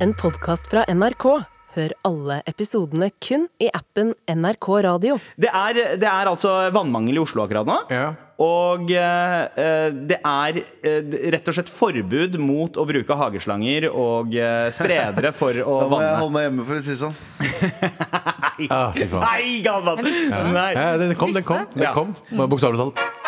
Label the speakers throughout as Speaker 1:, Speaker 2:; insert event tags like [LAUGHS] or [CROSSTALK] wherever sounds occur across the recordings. Speaker 1: en podkast fra NRK. Hør alle episodene kun i appen NRK Radio.
Speaker 2: Det er, det er altså vannmangel i Oslo akkurat nå.
Speaker 3: Ja.
Speaker 2: Og eh, eh, det er eh, rett og slett forbud mot å bruke hageslanger og eh, spredere for å
Speaker 4: [LAUGHS] Da må jeg
Speaker 2: vanne.
Speaker 4: holde meg hjemme, for å si det sånn.
Speaker 3: Ah, fy faen.
Speaker 2: Nei, Galvan! Nei.
Speaker 3: Ja, den kom, den kom. Den
Speaker 2: Ja.
Speaker 3: kom Bokstavelig talt.
Speaker 4: Mm.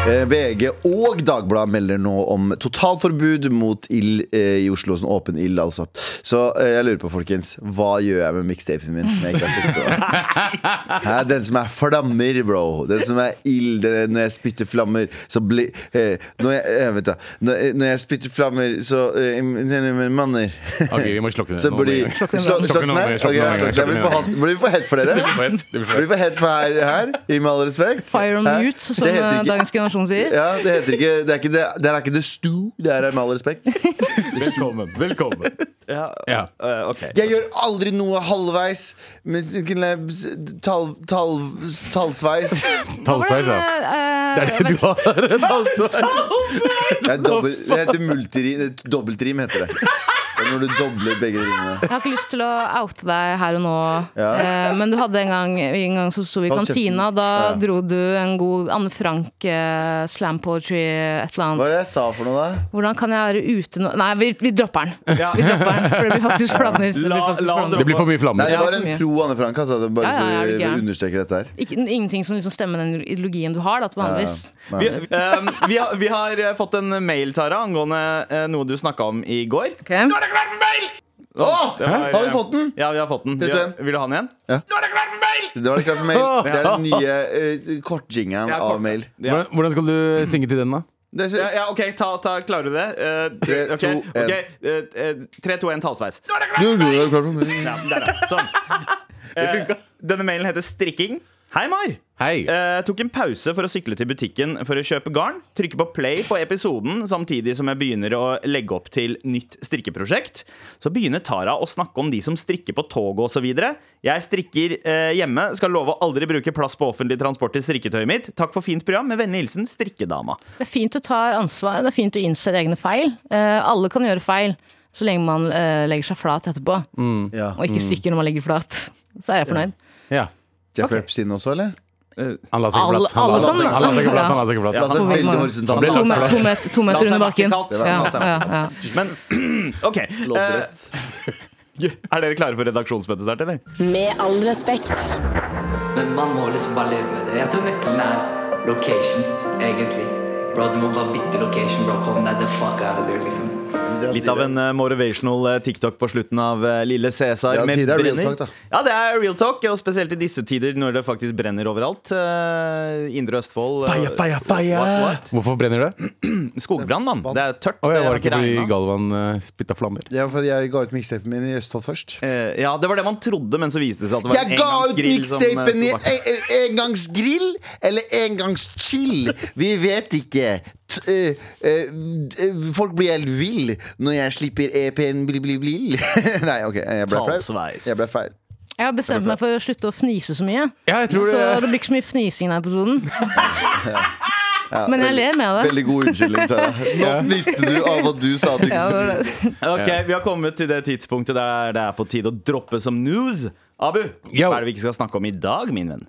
Speaker 4: Eh, VG og Dagbladet melder nå om totalforbud mot ild eh, i Oslo. Sånn åpen ild, altså. Så eh, jeg lurer på, folkens, hva gjør jeg med mixtapen min? Som jeg ikke har sett på?
Speaker 3: [LAUGHS]
Speaker 4: Hæ, den som er flammer, bro. Den som er ild. Den- Når jeg spytter flammer, så blir eh, når, jeg, eh, vent da. Når, eh, når jeg spytter flammer, så eh, men Manner. [LAUGHS]
Speaker 3: Ok, vi må slokke den.
Speaker 4: Så
Speaker 3: Nå må vi-
Speaker 4: blir Slå- Slokk den her? Ok, jeg har slokk den. Jeg blir for hat- Blir vi for hett for
Speaker 3: Det blir
Speaker 4: dere?
Speaker 3: for hett, det blir for hett.
Speaker 4: Blir vi for hett for her, her? I med all respekt.
Speaker 5: Fire on
Speaker 4: Hæ?
Speaker 5: mute, som
Speaker 4: Det heter
Speaker 5: eh,
Speaker 4: ikke-
Speaker 5: dagens generasjon sier.
Speaker 4: ja, det heter ikke Det er ikke det, det, er ikke det stu. Det er med all respekt.
Speaker 3: Velkommen. velkommen
Speaker 2: Ja,
Speaker 3: Ja.
Speaker 2: eh, ok.
Speaker 4: Jeg gjør aldri noe halvveis. Med tall, tall,
Speaker 5: [LAUGHS]
Speaker 4: tallsveis.
Speaker 3: Tallsveis, ja.
Speaker 5: eh,
Speaker 3: Det er det du har. Tallsveis.
Speaker 4: Det, er dobbel, det heter multirim. det er Dobbeltrim heter det. Det er når du dobler begge ringene.
Speaker 5: Jeg har ikke lyst til å oute deg her og nå,
Speaker 4: Ja.
Speaker 5: eh, men du hadde en gang, en gang så sto vi i
Speaker 4: Hold
Speaker 5: kantina.
Speaker 4: kjeften.
Speaker 5: Da
Speaker 4: Ja.
Speaker 5: dro du en god Anne Frank eh, slam poetry, et eller
Speaker 4: Hva
Speaker 5: annet.
Speaker 4: er det jeg sa for noe, da?
Speaker 5: Hvordan kan jeg være ute nå Nei, vi, vi dropper den.
Speaker 2: Ja.
Speaker 5: Vi dropper den, For det blir faktisk flammer. Det blir
Speaker 2: La-
Speaker 5: faktisk
Speaker 2: la
Speaker 5: flammer.
Speaker 2: dere-
Speaker 3: Det blir for mye
Speaker 4: Nei,
Speaker 3: flammer.
Speaker 4: det var
Speaker 5: Ja, for
Speaker 4: en
Speaker 5: mye.
Speaker 4: pro Anne Frank. Altså. Det er Bare
Speaker 5: Ja, ja, er
Speaker 4: så
Speaker 5: du
Speaker 4: vi
Speaker 5: gæren?
Speaker 4: understreker dette her.
Speaker 5: Ikke, ingenting som liksom stemmer den ideologien du har, da, til vanligvis.
Speaker 2: Vi, eh, vi, har, vi har eh, fått en mail, Tara, angående eh, noe du snakka om i går.
Speaker 5: Ok.
Speaker 4: Åh,
Speaker 2: Det var,
Speaker 4: har vi
Speaker 2: eh,
Speaker 4: fått den?
Speaker 2: Ja, vi har fått den.
Speaker 4: Dette
Speaker 2: Vi har,
Speaker 4: er
Speaker 2: vil du ha den igjen?
Speaker 4: Det var det klart for mail. Det er den nye uh, kortjingeren
Speaker 2: Ja, kort-
Speaker 4: av mail.
Speaker 2: Ja.
Speaker 3: Hvordan, hvordan skal du synge til den, da?
Speaker 4: Det er
Speaker 2: Ja,
Speaker 4: så,
Speaker 2: ja, OK, ta, ta, klarer du det? Eh,
Speaker 4: Tre,
Speaker 2: ok,
Speaker 4: to, en.
Speaker 2: ok, eh, eh, Tre, to, en tallsveis.
Speaker 4: du, du, det er klart for mail.
Speaker 2: Ja, der, ja. Sånn. Eh, denne mailen heter Strikking. Hei, Mar.
Speaker 3: Hei.
Speaker 2: Eh, tok en pause for å sykle til butikken for å kjøpe garn. Trykke på play på episoden samtidig som jeg begynner å legge opp til nytt strikkeprosjekt. Så begynner Tara å snakke om de som strikker på toget osv. Jeg strikker eh, hjemme, skal love å aldri bruke plass på offentlig transport til strikketøyet mitt. Takk for fint program. Med vennlig hilsen strikkedama.
Speaker 5: Det er fint du tar ansvar, det er fint du innser egne feil. Eh, alle kan gjøre feil, så lenge man eh, legger seg flat etterpå.
Speaker 4: Ja.
Speaker 5: Og
Speaker 3: Mm.
Speaker 5: ikke strikker når man legger flat. Så er jeg fornøyd.
Speaker 3: Ja.
Speaker 4: Jeff Epstein også, eller?
Speaker 3: Han la seg ikke
Speaker 5: Alle-
Speaker 3: flat. Han la-
Speaker 5: alle kan-
Speaker 3: han la seg ikke flat. Han la seg ikke flat.
Speaker 4: Ja, det er veldig
Speaker 3: Han ble
Speaker 4: horisontalt.
Speaker 5: To, me
Speaker 3: flat.
Speaker 5: to, met
Speaker 2: La
Speaker 5: to
Speaker 2: oss
Speaker 5: meter under
Speaker 2: være
Speaker 5: bakken.
Speaker 2: vertikalt.
Speaker 5: Ja,
Speaker 2: La oss være
Speaker 5: ja, ja.
Speaker 2: Men [CLEARS THROAT] OK. eh, [LAUGHS]
Speaker 4: Loddrett.
Speaker 2: er dere klare for redaksjonsmøte snart, eller?
Speaker 1: Med all respekt.
Speaker 6: Men man må liksom bare leve med det. Jeg tror nøkkelen er location, egentlig. Bro, du må bare bytte location, bro. Kom deg the fuck out of there, liksom.
Speaker 2: Litt av en eh, motivational eh, TikTok på slutten av eh, Lille Cæsar.
Speaker 4: Ja,
Speaker 2: med
Speaker 4: sier det er real
Speaker 2: brenner.
Speaker 4: talk, da.
Speaker 2: Ja, det er real talk, og spesielt i disse tider når det faktisk brenner overalt. Eh, Indre Østfold. eh,
Speaker 4: Fire, fire, fire!
Speaker 2: What,
Speaker 3: Hvorfor brenner det?
Speaker 2: what? Skogbrann, mann. Det er tørt.
Speaker 3: Å, jeg var
Speaker 2: har
Speaker 3: ikke fordi
Speaker 2: regnet.
Speaker 3: Galvan eh, spytta flammer.
Speaker 4: Det var fordi jeg ga ut mixtapen min i Østfold først.
Speaker 2: Eh, ja, det var det man trodde, men så viste det seg at det var en
Speaker 4: Jeg ga ut
Speaker 2: engangsgrill som eh,
Speaker 4: mixtapen i
Speaker 2: sto [LAUGHS] bak.
Speaker 4: en- en- engangsgrill eller engangschill. Vi vet ikke. T eh, eh, eh, folk blir helt vill når jeg slipper E EP-en blill-blill-blill. [LAUGHS] Nei, OK, jeg ble flau.
Speaker 2: Talsveis.
Speaker 4: Jeg ble feil.
Speaker 5: Jeg har bestemt meg for å slutte å fnise så mye.
Speaker 3: Ja, jeg tror
Speaker 5: Så
Speaker 3: det-
Speaker 5: det blir ikke så mye fnising i denne episoden. Men jeg ler med det.
Speaker 4: Veldig god unnskyldning til
Speaker 2: [LAUGHS]
Speaker 4: deg. Nå fniste du av at du sa at du
Speaker 5: Ja, det
Speaker 4: ikke
Speaker 5: var det.
Speaker 2: Ok, Vi har kommet til det tidspunktet der det er på tide å droppe som news. Abu,
Speaker 3: Yo.
Speaker 2: hva er det vi ikke skal snakke om i dag, min venn?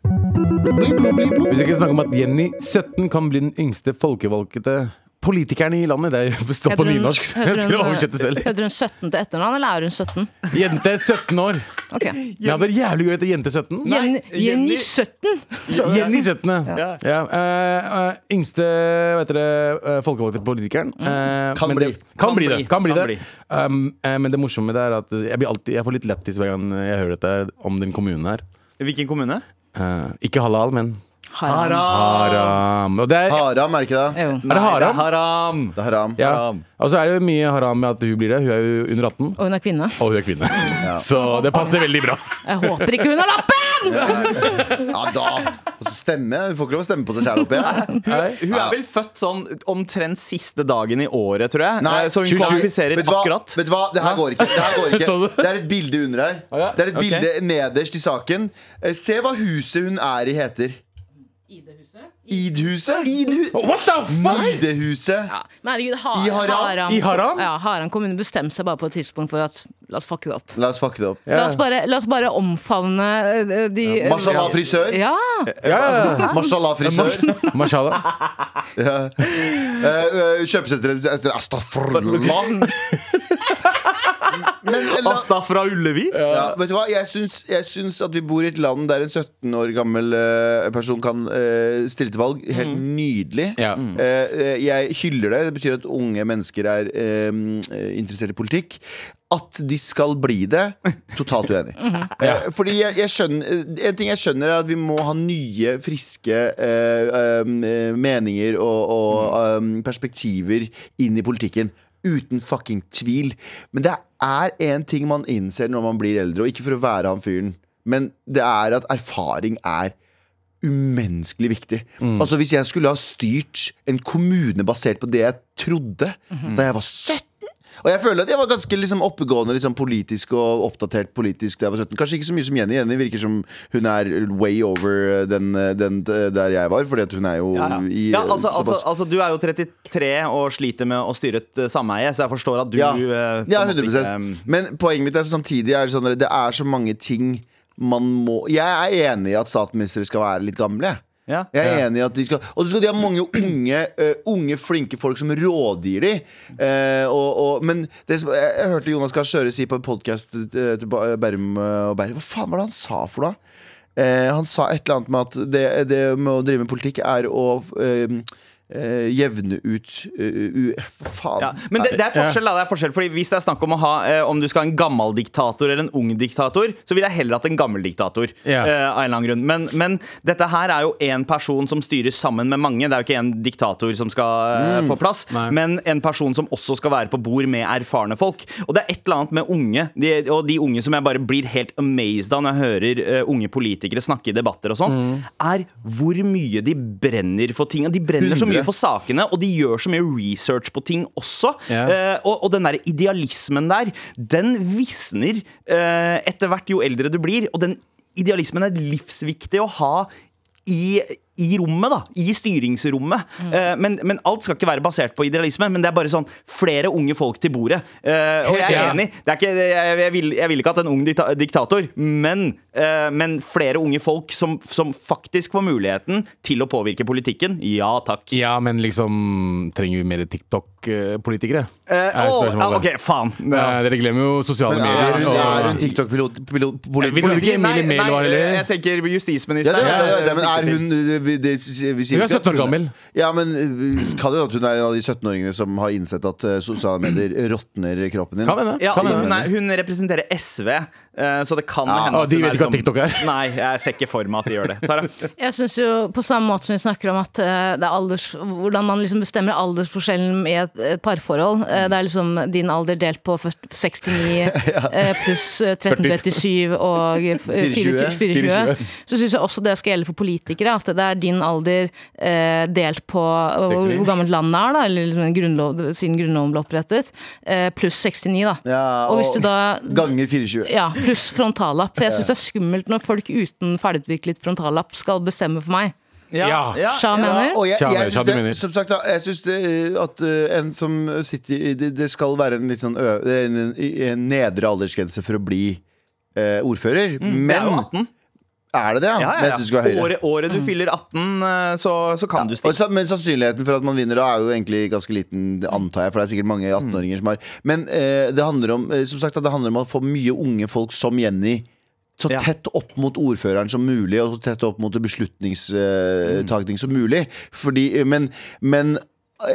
Speaker 3: Vi skal ikke snakke om at Jenny 17 kan bli den yngste folkevalgte politikeren i landet. Det står på
Speaker 5: Heter hun-
Speaker 3: nynorsk. så Jeg
Speaker 5: heter
Speaker 3: skulle
Speaker 5: hun-
Speaker 3: oversette selv.
Speaker 5: Heter hun 17 til etternavn, eller er hun 17?
Speaker 3: Jente 17 år.
Speaker 5: Ok.
Speaker 3: Det hadde vært jævlig gøy å hete Jente 17.
Speaker 5: Jenny,
Speaker 2: Jenny-
Speaker 5: Jenny 17?
Speaker 3: Jenny 17. Ja.
Speaker 2: Ja.
Speaker 3: eh, eh, yngste hva heter det, eh, folkevalgte politikeren.
Speaker 5: Mm.
Speaker 3: Eh,
Speaker 4: Kan
Speaker 3: men
Speaker 4: bli.
Speaker 3: Det, kan, bli det. Kan bli
Speaker 2: Kan bli.
Speaker 3: det. Um, eh, men det morsomme det er at jeg, blir alltid, jeg får litt lættis hver gang jeg hører dette om den kommunen her.
Speaker 2: Hvilken kommune?
Speaker 3: Eh, ikke halal, men
Speaker 5: Haram.
Speaker 3: haram. Og det er,
Speaker 4: Haram, er det ikke det?
Speaker 5: Jo.
Speaker 2: Nei, det
Speaker 3: haram?
Speaker 2: haram.
Speaker 4: Det er haram.
Speaker 3: ja.
Speaker 2: haram.
Speaker 3: Og så er det jo mye haram med at hun blir det. Hun er jo under 18.
Speaker 5: Og hun er kvinne.
Speaker 3: Og hun er kvinne. [LAUGHS] Så det passer veldig bra.
Speaker 5: Jeg håper ikke hun har lappen!
Speaker 4: Ja, da! Og så stemme. Hun får ikke lov å stemme på seg sjæl oppe igjen.
Speaker 2: Hun er vel født sånn omtrent siste dagen i året, tror jeg.
Speaker 4: Nei,
Speaker 2: Eh, så hun
Speaker 4: 27.
Speaker 2: kvalifiserer
Speaker 4: Vet du hva?
Speaker 2: akkurat.
Speaker 4: Vet du hva? Det her går ikke. Det, her går
Speaker 3: [LAUGHS] Så du?
Speaker 4: ikke. det er et bilde under her.
Speaker 3: Å ja,
Speaker 4: Det er et
Speaker 3: ok.
Speaker 4: bilde nederst i saken. Eh, Se hva huset hun er i, heter. Idhuset? Idhu
Speaker 3: What the fuck?!
Speaker 4: Idehuset?
Speaker 5: Ja. Men herregud, har,
Speaker 4: I Haram?
Speaker 5: Haram,
Speaker 3: I Haram?
Speaker 5: Ja, Haram kommune bestemte seg bare på et tidspunkt for at la oss fucke det opp.
Speaker 4: La oss fucke det opp.
Speaker 5: La oss bare, la oss bare omfavne eh, de
Speaker 4: Mashallah frisør.
Speaker 5: Ja!
Speaker 3: Ja, ja,
Speaker 4: Mashallah frisør.
Speaker 3: ja. Mashallah.
Speaker 4: Ja. [LAUGHS] Eh, eh, Kjøpesenteret etter Astafrullah.
Speaker 3: [LAUGHS]
Speaker 4: Men la,
Speaker 2: Asta fra Ullevi?
Speaker 4: ja, vet du hva? Jeg syns, jeg syns at vi bor i et land der en 17 år gammel eh, person kan eh, stille til valg. Helt nydelig.
Speaker 3: Ja.
Speaker 4: Eh, eh, jeg hyller det. Det betyr at unge mennesker er eh, interessert i politikk. At de skal bli det, totalt uenig. Eh, Fordi jeg, jeg skjønner eh, En ting jeg skjønner, er at vi må ha nye, friske eh, um, eh, meninger og, og um, perspektiver inn i politikken. Uten fucking tvil. Men det er én ting man innser når man blir eldre, og ikke for å være han fyren, men det er at erfaring er umenneskelig viktig.
Speaker 2: Mm.
Speaker 4: Altså Hvis jeg skulle ha styrt en kommune basert på det jeg trodde
Speaker 2: Mhm.
Speaker 4: da jeg var 17 og jeg føler at jeg var ganske liksom, oppegående liksom, politisk og oppdatert politisk da jeg var 17. Kanskje ikke så mye som Jenny. Jenny virker som hun er way over den, den der jeg var, fordi at hun er jo
Speaker 2: Ja, ja.
Speaker 4: i eh,
Speaker 2: ja altså,
Speaker 4: såpass-
Speaker 2: altså, altså, du er jo 33 og sliter med å styre et eh, sameie, så jeg forstår at du
Speaker 4: Ja,
Speaker 2: eh, på
Speaker 4: ja
Speaker 2: en måte
Speaker 4: 100
Speaker 2: ikke,
Speaker 4: Men poenget mitt er så samtidig er det sånn at Det er så mange ting man må Jeg er enig i at statsministre skal være litt gamle jeg.
Speaker 2: Ja.
Speaker 4: Jeg er enig i at de skal Og så skal de ha mange unge, eh, unge flinke folk som rådgir de Eh, og, og, Men det som, jeg, jeg hørte Jonas Gahr Støre si på en podcast eh, til Ba- Bærum eh, og Bærum Hva faen var det han sa for noe? Eh, han sa et eller annet med at det, det med å drive med politikk er å eh, eh, jevne ut eh, u- Faen
Speaker 2: ja. Men det, det er forskjell, da. Det er forskjell, fordi Hvis det er snakk om å ha eh, Om du skal ha en gammel diktator eller en ung diktator, så ville jeg heller hatt en gammel diktator.
Speaker 3: Ja.
Speaker 2: eh, av en eller annen grunn men, men dette her er jo én person som styrer sammen med mange. Det er jo ikke en diktator som skal eh, få plass, men en person som også skal være på bord med erfarne folk. Og det er et eller annet med unge, de, og de unge som jeg bare blir helt amazed av når jeg hører eh, unge politikere snakke i debatter og sånt, er hvor mye de brenner for ting. De brenner så mye
Speaker 4: 100.
Speaker 2: for sakene, og de gjør så mye research på ting også.
Speaker 3: Ja.
Speaker 2: Eh, og, og den der idealismen der, den visner eh, etter hvert jo eldre du blir. Og den idealismen er livsviktig å ha i, i rommet, da. I styringsrommet.
Speaker 3: Mm.
Speaker 2: Eh, men, men alt skal ikke være basert på idealisme, men det er bare sånn flere unge folk til bordet. Eh, og jeg er
Speaker 3: Ja.
Speaker 2: enig. Det er ikke, jeg, jeg, vil, jeg vil ikke at en ung dikta, diktator, men, eh, men flere unge folk som, som faktisk får muligheten til å påvirke politikken. Ja takk.
Speaker 3: Ja, men liksom Trenger vi mer TikTok-politikere?
Speaker 2: Eh,
Speaker 3: Er
Speaker 2: å,
Speaker 3: spørsmålet. Eh,
Speaker 2: ja, ok, faen.
Speaker 3: Nei, Dere glemmer jo sosiale
Speaker 4: Men
Speaker 3: medier.
Speaker 4: er hun, er hun
Speaker 3: og-
Speaker 4: TikTok-pilot? pilot-
Speaker 3: Jeg vil
Speaker 4: Politiker?
Speaker 3: ikke Emilie Mehl var heller.
Speaker 2: jeg tenker
Speaker 4: Ja,
Speaker 2: justisministeren.
Speaker 4: det, det, det, det,
Speaker 2: Jeg
Speaker 4: men er
Speaker 2: sikter til-
Speaker 4: hun vi, det, vi sier
Speaker 3: Hun er
Speaker 4: ikke at
Speaker 3: 17 år gammel.
Speaker 4: Ja, men uh, kan det hende at hun er en av de 17-åringene som har innsett at uh, sosiale medier råtner kroppen din?
Speaker 3: Kan hende.
Speaker 2: ja,
Speaker 3: Kan
Speaker 2: altså,
Speaker 3: hende.
Speaker 2: hun, er, hun representerer SV, eh, så det kan hende
Speaker 3: Å, de
Speaker 2: hun
Speaker 3: vet ikke hva
Speaker 2: liksom-
Speaker 3: TikTok er.
Speaker 2: Nei, jeg ser ikke for meg at de gjør det. Tara?
Speaker 5: Jeg synes jo, på samme måte som vi snakker om at eh, det er alders, hvordan man liksom bestemmer aldersforskjellen i et, et parforhold eh, Det er liksom din alder delt på først 69
Speaker 4: [LAUGHS]
Speaker 5: eh, pluss eh, 1337 og eh, 24. 24. Så syns jeg også det skal gjelde for politikere. At det er din alder eh, delt på eh, hvor,
Speaker 3: 69.
Speaker 5: hvor gammelt landet er, da, eller liksom en grunnlov, siden grunnloven ble opprettet, eh, pluss 69, da.
Speaker 4: Ja,
Speaker 5: og hvis
Speaker 4: og
Speaker 5: du da
Speaker 4: Ganger 24.
Speaker 5: ja, pluss frontallapp. For jeg syns det er skummelt når folk uten ferdigutviklet frontallapp skal bestemme for meg.
Speaker 3: [LAUGHS] Ja.
Speaker 5: Sja mener?
Speaker 4: og jeg,
Speaker 3: Tja, mener,
Speaker 4: jeg,
Speaker 3: tja,
Speaker 4: synes
Speaker 3: du mener.
Speaker 4: det, som sagt, da, jeg syns det, uh, at uh, en som sitter i det, det skal være en litt sånn ø, en, en, en nedre aldersgrense for å bli uh, ordfører.
Speaker 2: Det er jo
Speaker 4: Men
Speaker 2: 18.
Speaker 4: er det det, ja?
Speaker 2: Ja, ja,
Speaker 4: Men jeg synes det skal
Speaker 2: ja.
Speaker 4: være høyere.
Speaker 2: Året, året du fyller 18, eh, så, så kan du
Speaker 4: Og
Speaker 2: stikke.
Speaker 4: sa- men sannsynligheten for at man vinner da er jo egentlig ganske liten, det antar jeg. For det er sikkert
Speaker 2: Mm.
Speaker 4: mange 18-åringer som har Men eh, det handler om eh, Som sagt, da, det handler om å få mye unge folk som Jenny. Så
Speaker 2: Ja.
Speaker 4: tett opp mot ordføreren som mulig, og så tett opp mot
Speaker 2: Mm.
Speaker 4: beslutningstaking som mulig. Fordi, eh, men, men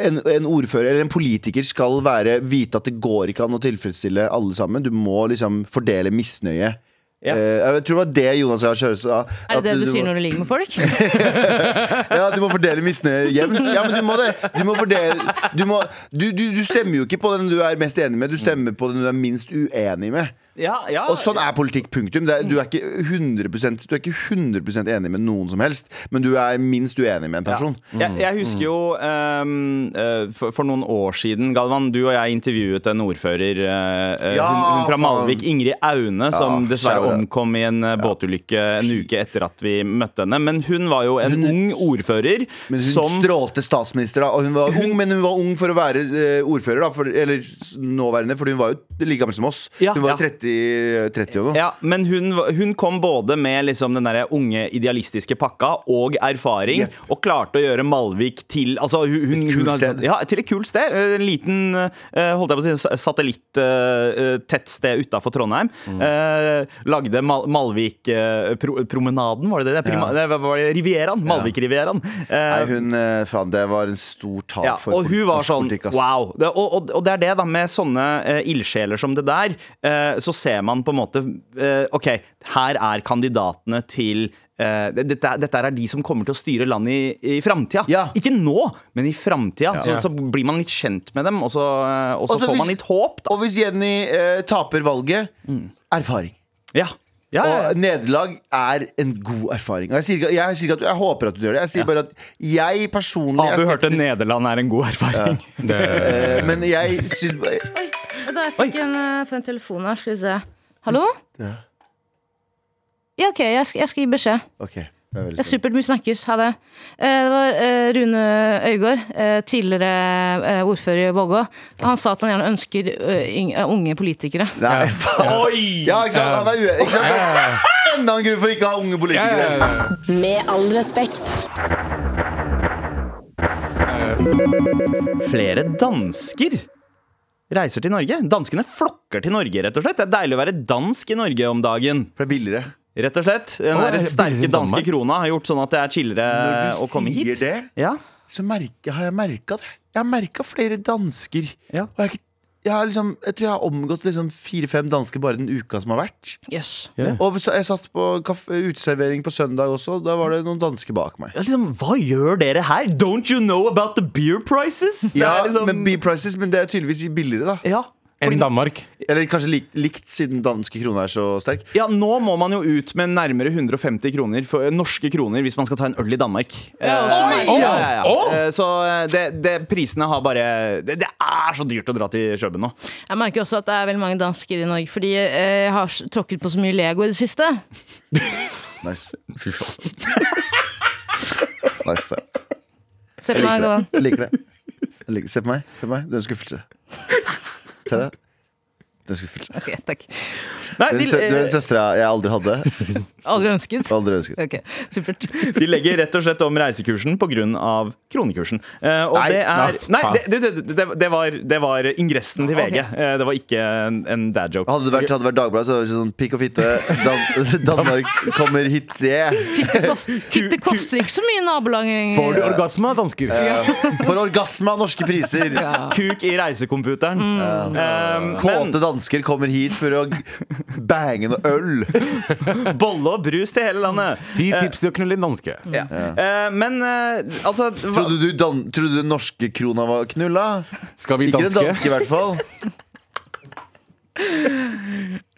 Speaker 4: en, en ordfører eller en politiker skal være, vite at det går ikke an å tilfredsstille alle sammen. Du må liksom fordele misnøye.
Speaker 2: Ja.
Speaker 4: Eh, jeg tror det var det Jonas Gahr Støre sa.
Speaker 5: Er
Speaker 4: at
Speaker 5: det det du
Speaker 4: må-
Speaker 5: sier når du ligger
Speaker 4: [LAUGHS]
Speaker 5: med folk?
Speaker 4: ja, du må fordele misnøye jevnt. Ja, men du må det. Du, må fordele, du, må, du, du, du stemmer jo ikke på den du er mest enig med, du stemmer på den du er minst uenig med.
Speaker 2: Ja, ja.
Speaker 4: Og sånn er politikk, punktum. Det er, du, er ikke 100%, du er ikke 100 enig med noen som helst, men du er minst uenig med en person.
Speaker 2: Jeg, jeg husker jo ehm, eh, for, for noen år siden, Galvan, du og jeg intervjuet en ordfører eh, eh,
Speaker 4: Ja,
Speaker 2: hun, hun fra
Speaker 4: faen.
Speaker 2: Malvik, Ingrid Aune, som dessverre
Speaker 4: skjære.
Speaker 2: omkom i en eh, båtulykke en uke etter at vi møtte henne. Men hun var jo en ung ordfører
Speaker 4: Men hun
Speaker 2: som
Speaker 4: strålte statsminister, da. Og hun var ung, men hun var ung for å være eh, ordfører, da. For, eller s- nåværende, for hun var jo like gammel som oss.
Speaker 2: Ja,
Speaker 4: hun var jo
Speaker 2: ja.
Speaker 4: 30, 30 og noe.
Speaker 2: ja, men hun, var- hun kom både med liksom den der unge idealistiske pakka og erfaring,
Speaker 4: Jepp.
Speaker 2: og klarte å gjøre Malvik til altså hun, hun,
Speaker 4: Et kult
Speaker 2: hun har-
Speaker 4: sted.
Speaker 2: Ja, til et kult sted. En liten eh, holdt jeg på å si, eh, satellittettsted utafor Trondheim.
Speaker 4: Mm.
Speaker 2: Eh, lagde Mal Malvik-promenaden, var det det? Prima,
Speaker 4: Ja.
Speaker 2: det var- var det Rivieraen. Malvik-rivieraen.
Speaker 4: Nei, hun, eh, faen, det var en stor tap
Speaker 2: Ja,
Speaker 4: for
Speaker 2: og hun var
Speaker 4: norsk
Speaker 2: sånn
Speaker 4: politikk, ass.
Speaker 2: wow. Det, og, og, og det er det, da, med sånne eh, ildsjeler som det der, eh, så ser man på en måte eh, OK, her er kandidatene til eh, det- dette, er- dette er de som kommer til å styre landet i, i framtida.
Speaker 4: Ja.
Speaker 2: Ikke nå, men i framtida. Så, så blir man litt kjent med dem, og så, eh, og så
Speaker 4: Og så
Speaker 2: får
Speaker 4: hvis-
Speaker 2: man litt håp, da.
Speaker 4: Og hvis Jenny eh, taper valget erfaring.
Speaker 2: Ja. Mm. Ja, ja, ja.
Speaker 4: Og nederlag er en god erfaring. Og jeg, sier ikke, jeg sier ikke at du, jeg håper at du gjør det. Jeg sier bare at jeg personlig er
Speaker 2: Abu hørte
Speaker 4: skeptisk,
Speaker 2: Nederland er en god erfaring.
Speaker 4: eh, Men jeg syns
Speaker 5: Da jeg fikk en, eh, for en telefon her, skal vi se. Hallo?
Speaker 4: Ja.
Speaker 5: Ja, ok, jeg skal, jeg skal gi beskjed.
Speaker 4: Ok, det er veldig
Speaker 5: Det er supert. Vi snakkes. Ha det. Eh, Det var eh, Rune Øygård, eh, tidligere eh, ordfører i Vågå. Han sa at han gjerne ønsker eh, yng- eh, unge politikere.
Speaker 4: spennende. Nei, faen. Ja, ikke sant? Han er ue... Ikke sant? [LAUGHS] Enda en grunn for ikke å ha unge politikere.
Speaker 1: Med all respekt.
Speaker 2: Flere dansker reiser til Norge. Danskene flokker til Norge, rett og slett. Det er deilig å være dansk i Norge om dagen.
Speaker 4: For det er billigere.
Speaker 2: Rett og slett. Den,
Speaker 3: Å, er
Speaker 2: der
Speaker 3: det
Speaker 2: sterke
Speaker 3: billigere enn
Speaker 2: danske
Speaker 3: Danmark?
Speaker 2: krona har gjort sånn at det er chillere
Speaker 4: Når du
Speaker 2: å komme hit.
Speaker 4: sier det?
Speaker 2: Ja.
Speaker 4: Så merker, har jeg merka det. Jeg har merka flere dansker.
Speaker 2: Ja.
Speaker 4: Og jeg, har ikke- jeg, har liksom, jeg tror jeg har omgått liksom fire-fem dansker bare den uka som har vært.
Speaker 5: Yes.
Speaker 4: Og så- jeg satt på kaff- uteservering på søndag også, da var det noen dansker bak meg.
Speaker 2: Ja, Liksom, hva gjør dere her? Don't you know about the beer prices? Det
Speaker 4: Ja,
Speaker 2: er liksom,
Speaker 4: med B-prices, men det er tydeligvis billigere, da.
Speaker 2: ja.
Speaker 3: Enn Danmark.
Speaker 4: Eller kanskje likt, likt siden danske krone er så sterk.
Speaker 2: ja, nå må man jo ut med nærmere 150 kroner for, eh, norske kroner hvis man skal ta en øl i Danmark. Eh, ja,
Speaker 3: Oi!
Speaker 2: ja, ja.
Speaker 3: Å!
Speaker 2: Eh, Så eh, det, det, prisene har bare det, det er så dyrt å dra til Kjøben nå.
Speaker 5: Jeg merker også at det er veldig mange dansker i Norge, fordi eh, jeg har s- tråkket på så mye Lego i det siste.
Speaker 4: Nice. Fy faen. [LAUGHS] nice, da.
Speaker 5: Se på meg, Galvan.
Speaker 4: Jeg liker det. Jeg liker. Se på meg. Se på meg. Du er en skuffelse. Tara. Du er en skuffelse.
Speaker 5: [LAUGHS] Ok, takk.
Speaker 2: Nei,
Speaker 4: Du er
Speaker 2: de,
Speaker 4: den sø- du er den
Speaker 2: eh,
Speaker 4: søstera jeg aldri hadde.
Speaker 5: Aldri ønsket.
Speaker 4: og Aldri ønsket.
Speaker 5: Ok, supert.
Speaker 2: de legger rett og slett om reisekursen pga. kronekursen. Eh, og
Speaker 4: Nei.
Speaker 2: det er Nei,
Speaker 3: faen.
Speaker 2: det, det, det, det, var, det var ingressen til VG.
Speaker 5: Ok.
Speaker 2: Eh, det var ikke en, en dad joke.
Speaker 4: Hadde det vært, hadde det vært Dagbladet, så hadde det vært sånn pikk og fitte. Dan [LAUGHS] Danmark kommer hit, yeah.
Speaker 5: Det, kost, fikk, det koster ikke så mye i nabolaget.
Speaker 3: Får du orgasme av dansker?
Speaker 4: Eh, For orgasme av norske priser.
Speaker 2: Kuk i reisekomputeren. Eh,
Speaker 4: Kåte dansker kommer hit for å bange noe øl.
Speaker 2: men bolle og brus til hele landet.
Speaker 3: Ti tips til å knulle en danske.
Speaker 2: Ja. Eh, men eh, altså hva,
Speaker 4: Trodde du, dan trodde du norske krona var knulla?
Speaker 3: Skal vi
Speaker 4: Ikke den danske,
Speaker 3: danske?
Speaker 4: i hvert fall.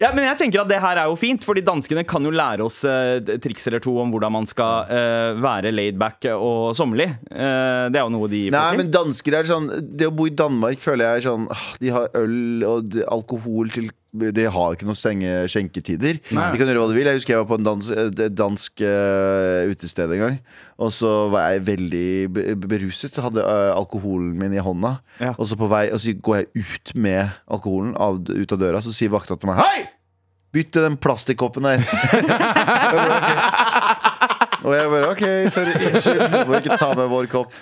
Speaker 2: ja, Men jeg tenker at det her er jo fint, Fordi danskene kan jo lære oss eh, triks eller to om hvordan man skal eh, være laidback og sommerlig. Eh, det er jo noe de får
Speaker 4: Nei,
Speaker 2: til.
Speaker 4: men dansker er sånn Det å bo i Danmark føler jeg er sånn ah, De har øl og d- alkohol til De har ikke noen strenge skjenketider
Speaker 2: Nei.
Speaker 4: De kan gjøre hva de vil Jeg husker jeg var på en dans, et dansk eh, utested en gang Og så var jeg veldig be- beruset Så hadde eh, alkoholen min i hånda
Speaker 2: Ja.
Speaker 4: Og så på vei Og så går jeg ut med alkoholen av, Ut av døra Så sier vakta til meg Hei! Bytte den plastikkoppen der Jeg bare, «Ok.» [LAUGHS] Og jeg bare OK, sorry, unnskyld. Du må ikke ta med vår kopp.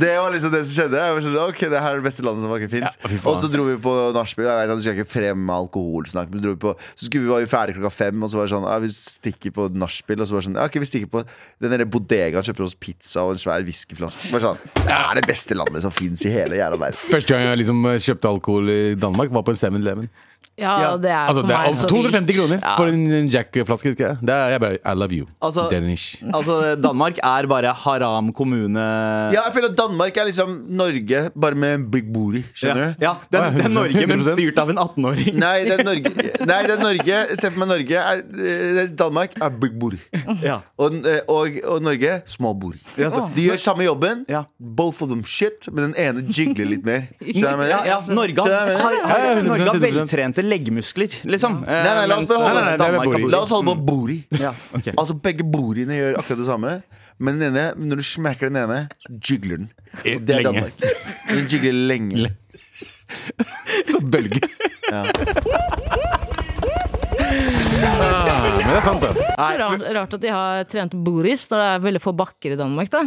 Speaker 4: Det var liksom det som skjedde. Jeg var sånn, ok, Det her er det beste landet som faktisk fins.
Speaker 3: Ja, fy faen.
Speaker 4: og så dro vi på nachspiel. Jeg vet at du skal ikke fremme alkoholsnakk, men så, dro vi på, så skulle vi var vi ferdig klokka fem, og så var det sånn ja, Vi stikker på nachspiel, og så var det sånn ja, ok, vi stikker på den derre bodegaen, kjøper oss pizza og en svær whiskyflaske. Bare sånn, Det er det beste landet som fins i hele jævla verden.
Speaker 3: Første gang jeg liksom eh, kjøpte alkohol i Danmark, var på en 7-Eleven.
Speaker 5: Ja,
Speaker 4: Ja.
Speaker 5: det er
Speaker 3: Altså,
Speaker 5: for
Speaker 3: det
Speaker 5: meg
Speaker 3: er
Speaker 5: så
Speaker 3: 250
Speaker 5: vilt.
Speaker 3: kroner
Speaker 5: Ja.
Speaker 3: for en en Jack-flaske. husker jeg. Det er jeg bare I love you.
Speaker 2: Altså-
Speaker 3: Danish.
Speaker 2: Altså, Danmark er bare haram kommune.
Speaker 4: Ja, jeg føler at Danmark er liksom Norge, bare med en big booty. Skjønner du?
Speaker 2: Ja, det, er, det er Norge, men
Speaker 3: 100%.
Speaker 2: styrt av en 18-åring.
Speaker 4: Nei, det er Norge. Nei, det er Norge Se for meg Norge. Er, eh, Danmark er big booty.
Speaker 2: Ja.
Speaker 4: Og, eh, og, og Norge small booty.
Speaker 2: Ja, så-
Speaker 4: De gjør samme jobben.
Speaker 2: Ja.
Speaker 4: Both of them shit, men den ene jigler litt mer. Skjønner du hva jeg
Speaker 2: Ja,
Speaker 4: mener?
Speaker 2: ja, Norge har,
Speaker 4: Skjønner du hva
Speaker 2: har,
Speaker 4: jeg mener?
Speaker 2: har,
Speaker 3: Ja, ja,
Speaker 2: Norge har
Speaker 3: 100%.
Speaker 2: veltrente leggmuskler, liksom. Eh,
Speaker 4: Nei, nei, la oss
Speaker 2: mens,
Speaker 4: beholde
Speaker 2: eh,
Speaker 3: oss- Nei, nei, nei, det er
Speaker 2: Danmark har
Speaker 3: booty.
Speaker 4: La oss holde på booty.
Speaker 2: Ja, ok.
Speaker 4: Altså Begge bordene gjør akkurat det samme. Men den ene, når du smekker den ene, så jigler den. Og det er
Speaker 2: Lenge.
Speaker 4: Danmark. Den jigler lenge.
Speaker 3: Så bølger. Ah, men det er sant, det.
Speaker 5: Rart, rart at de har trent Boris når det er veldig få bakker i Danmark, da.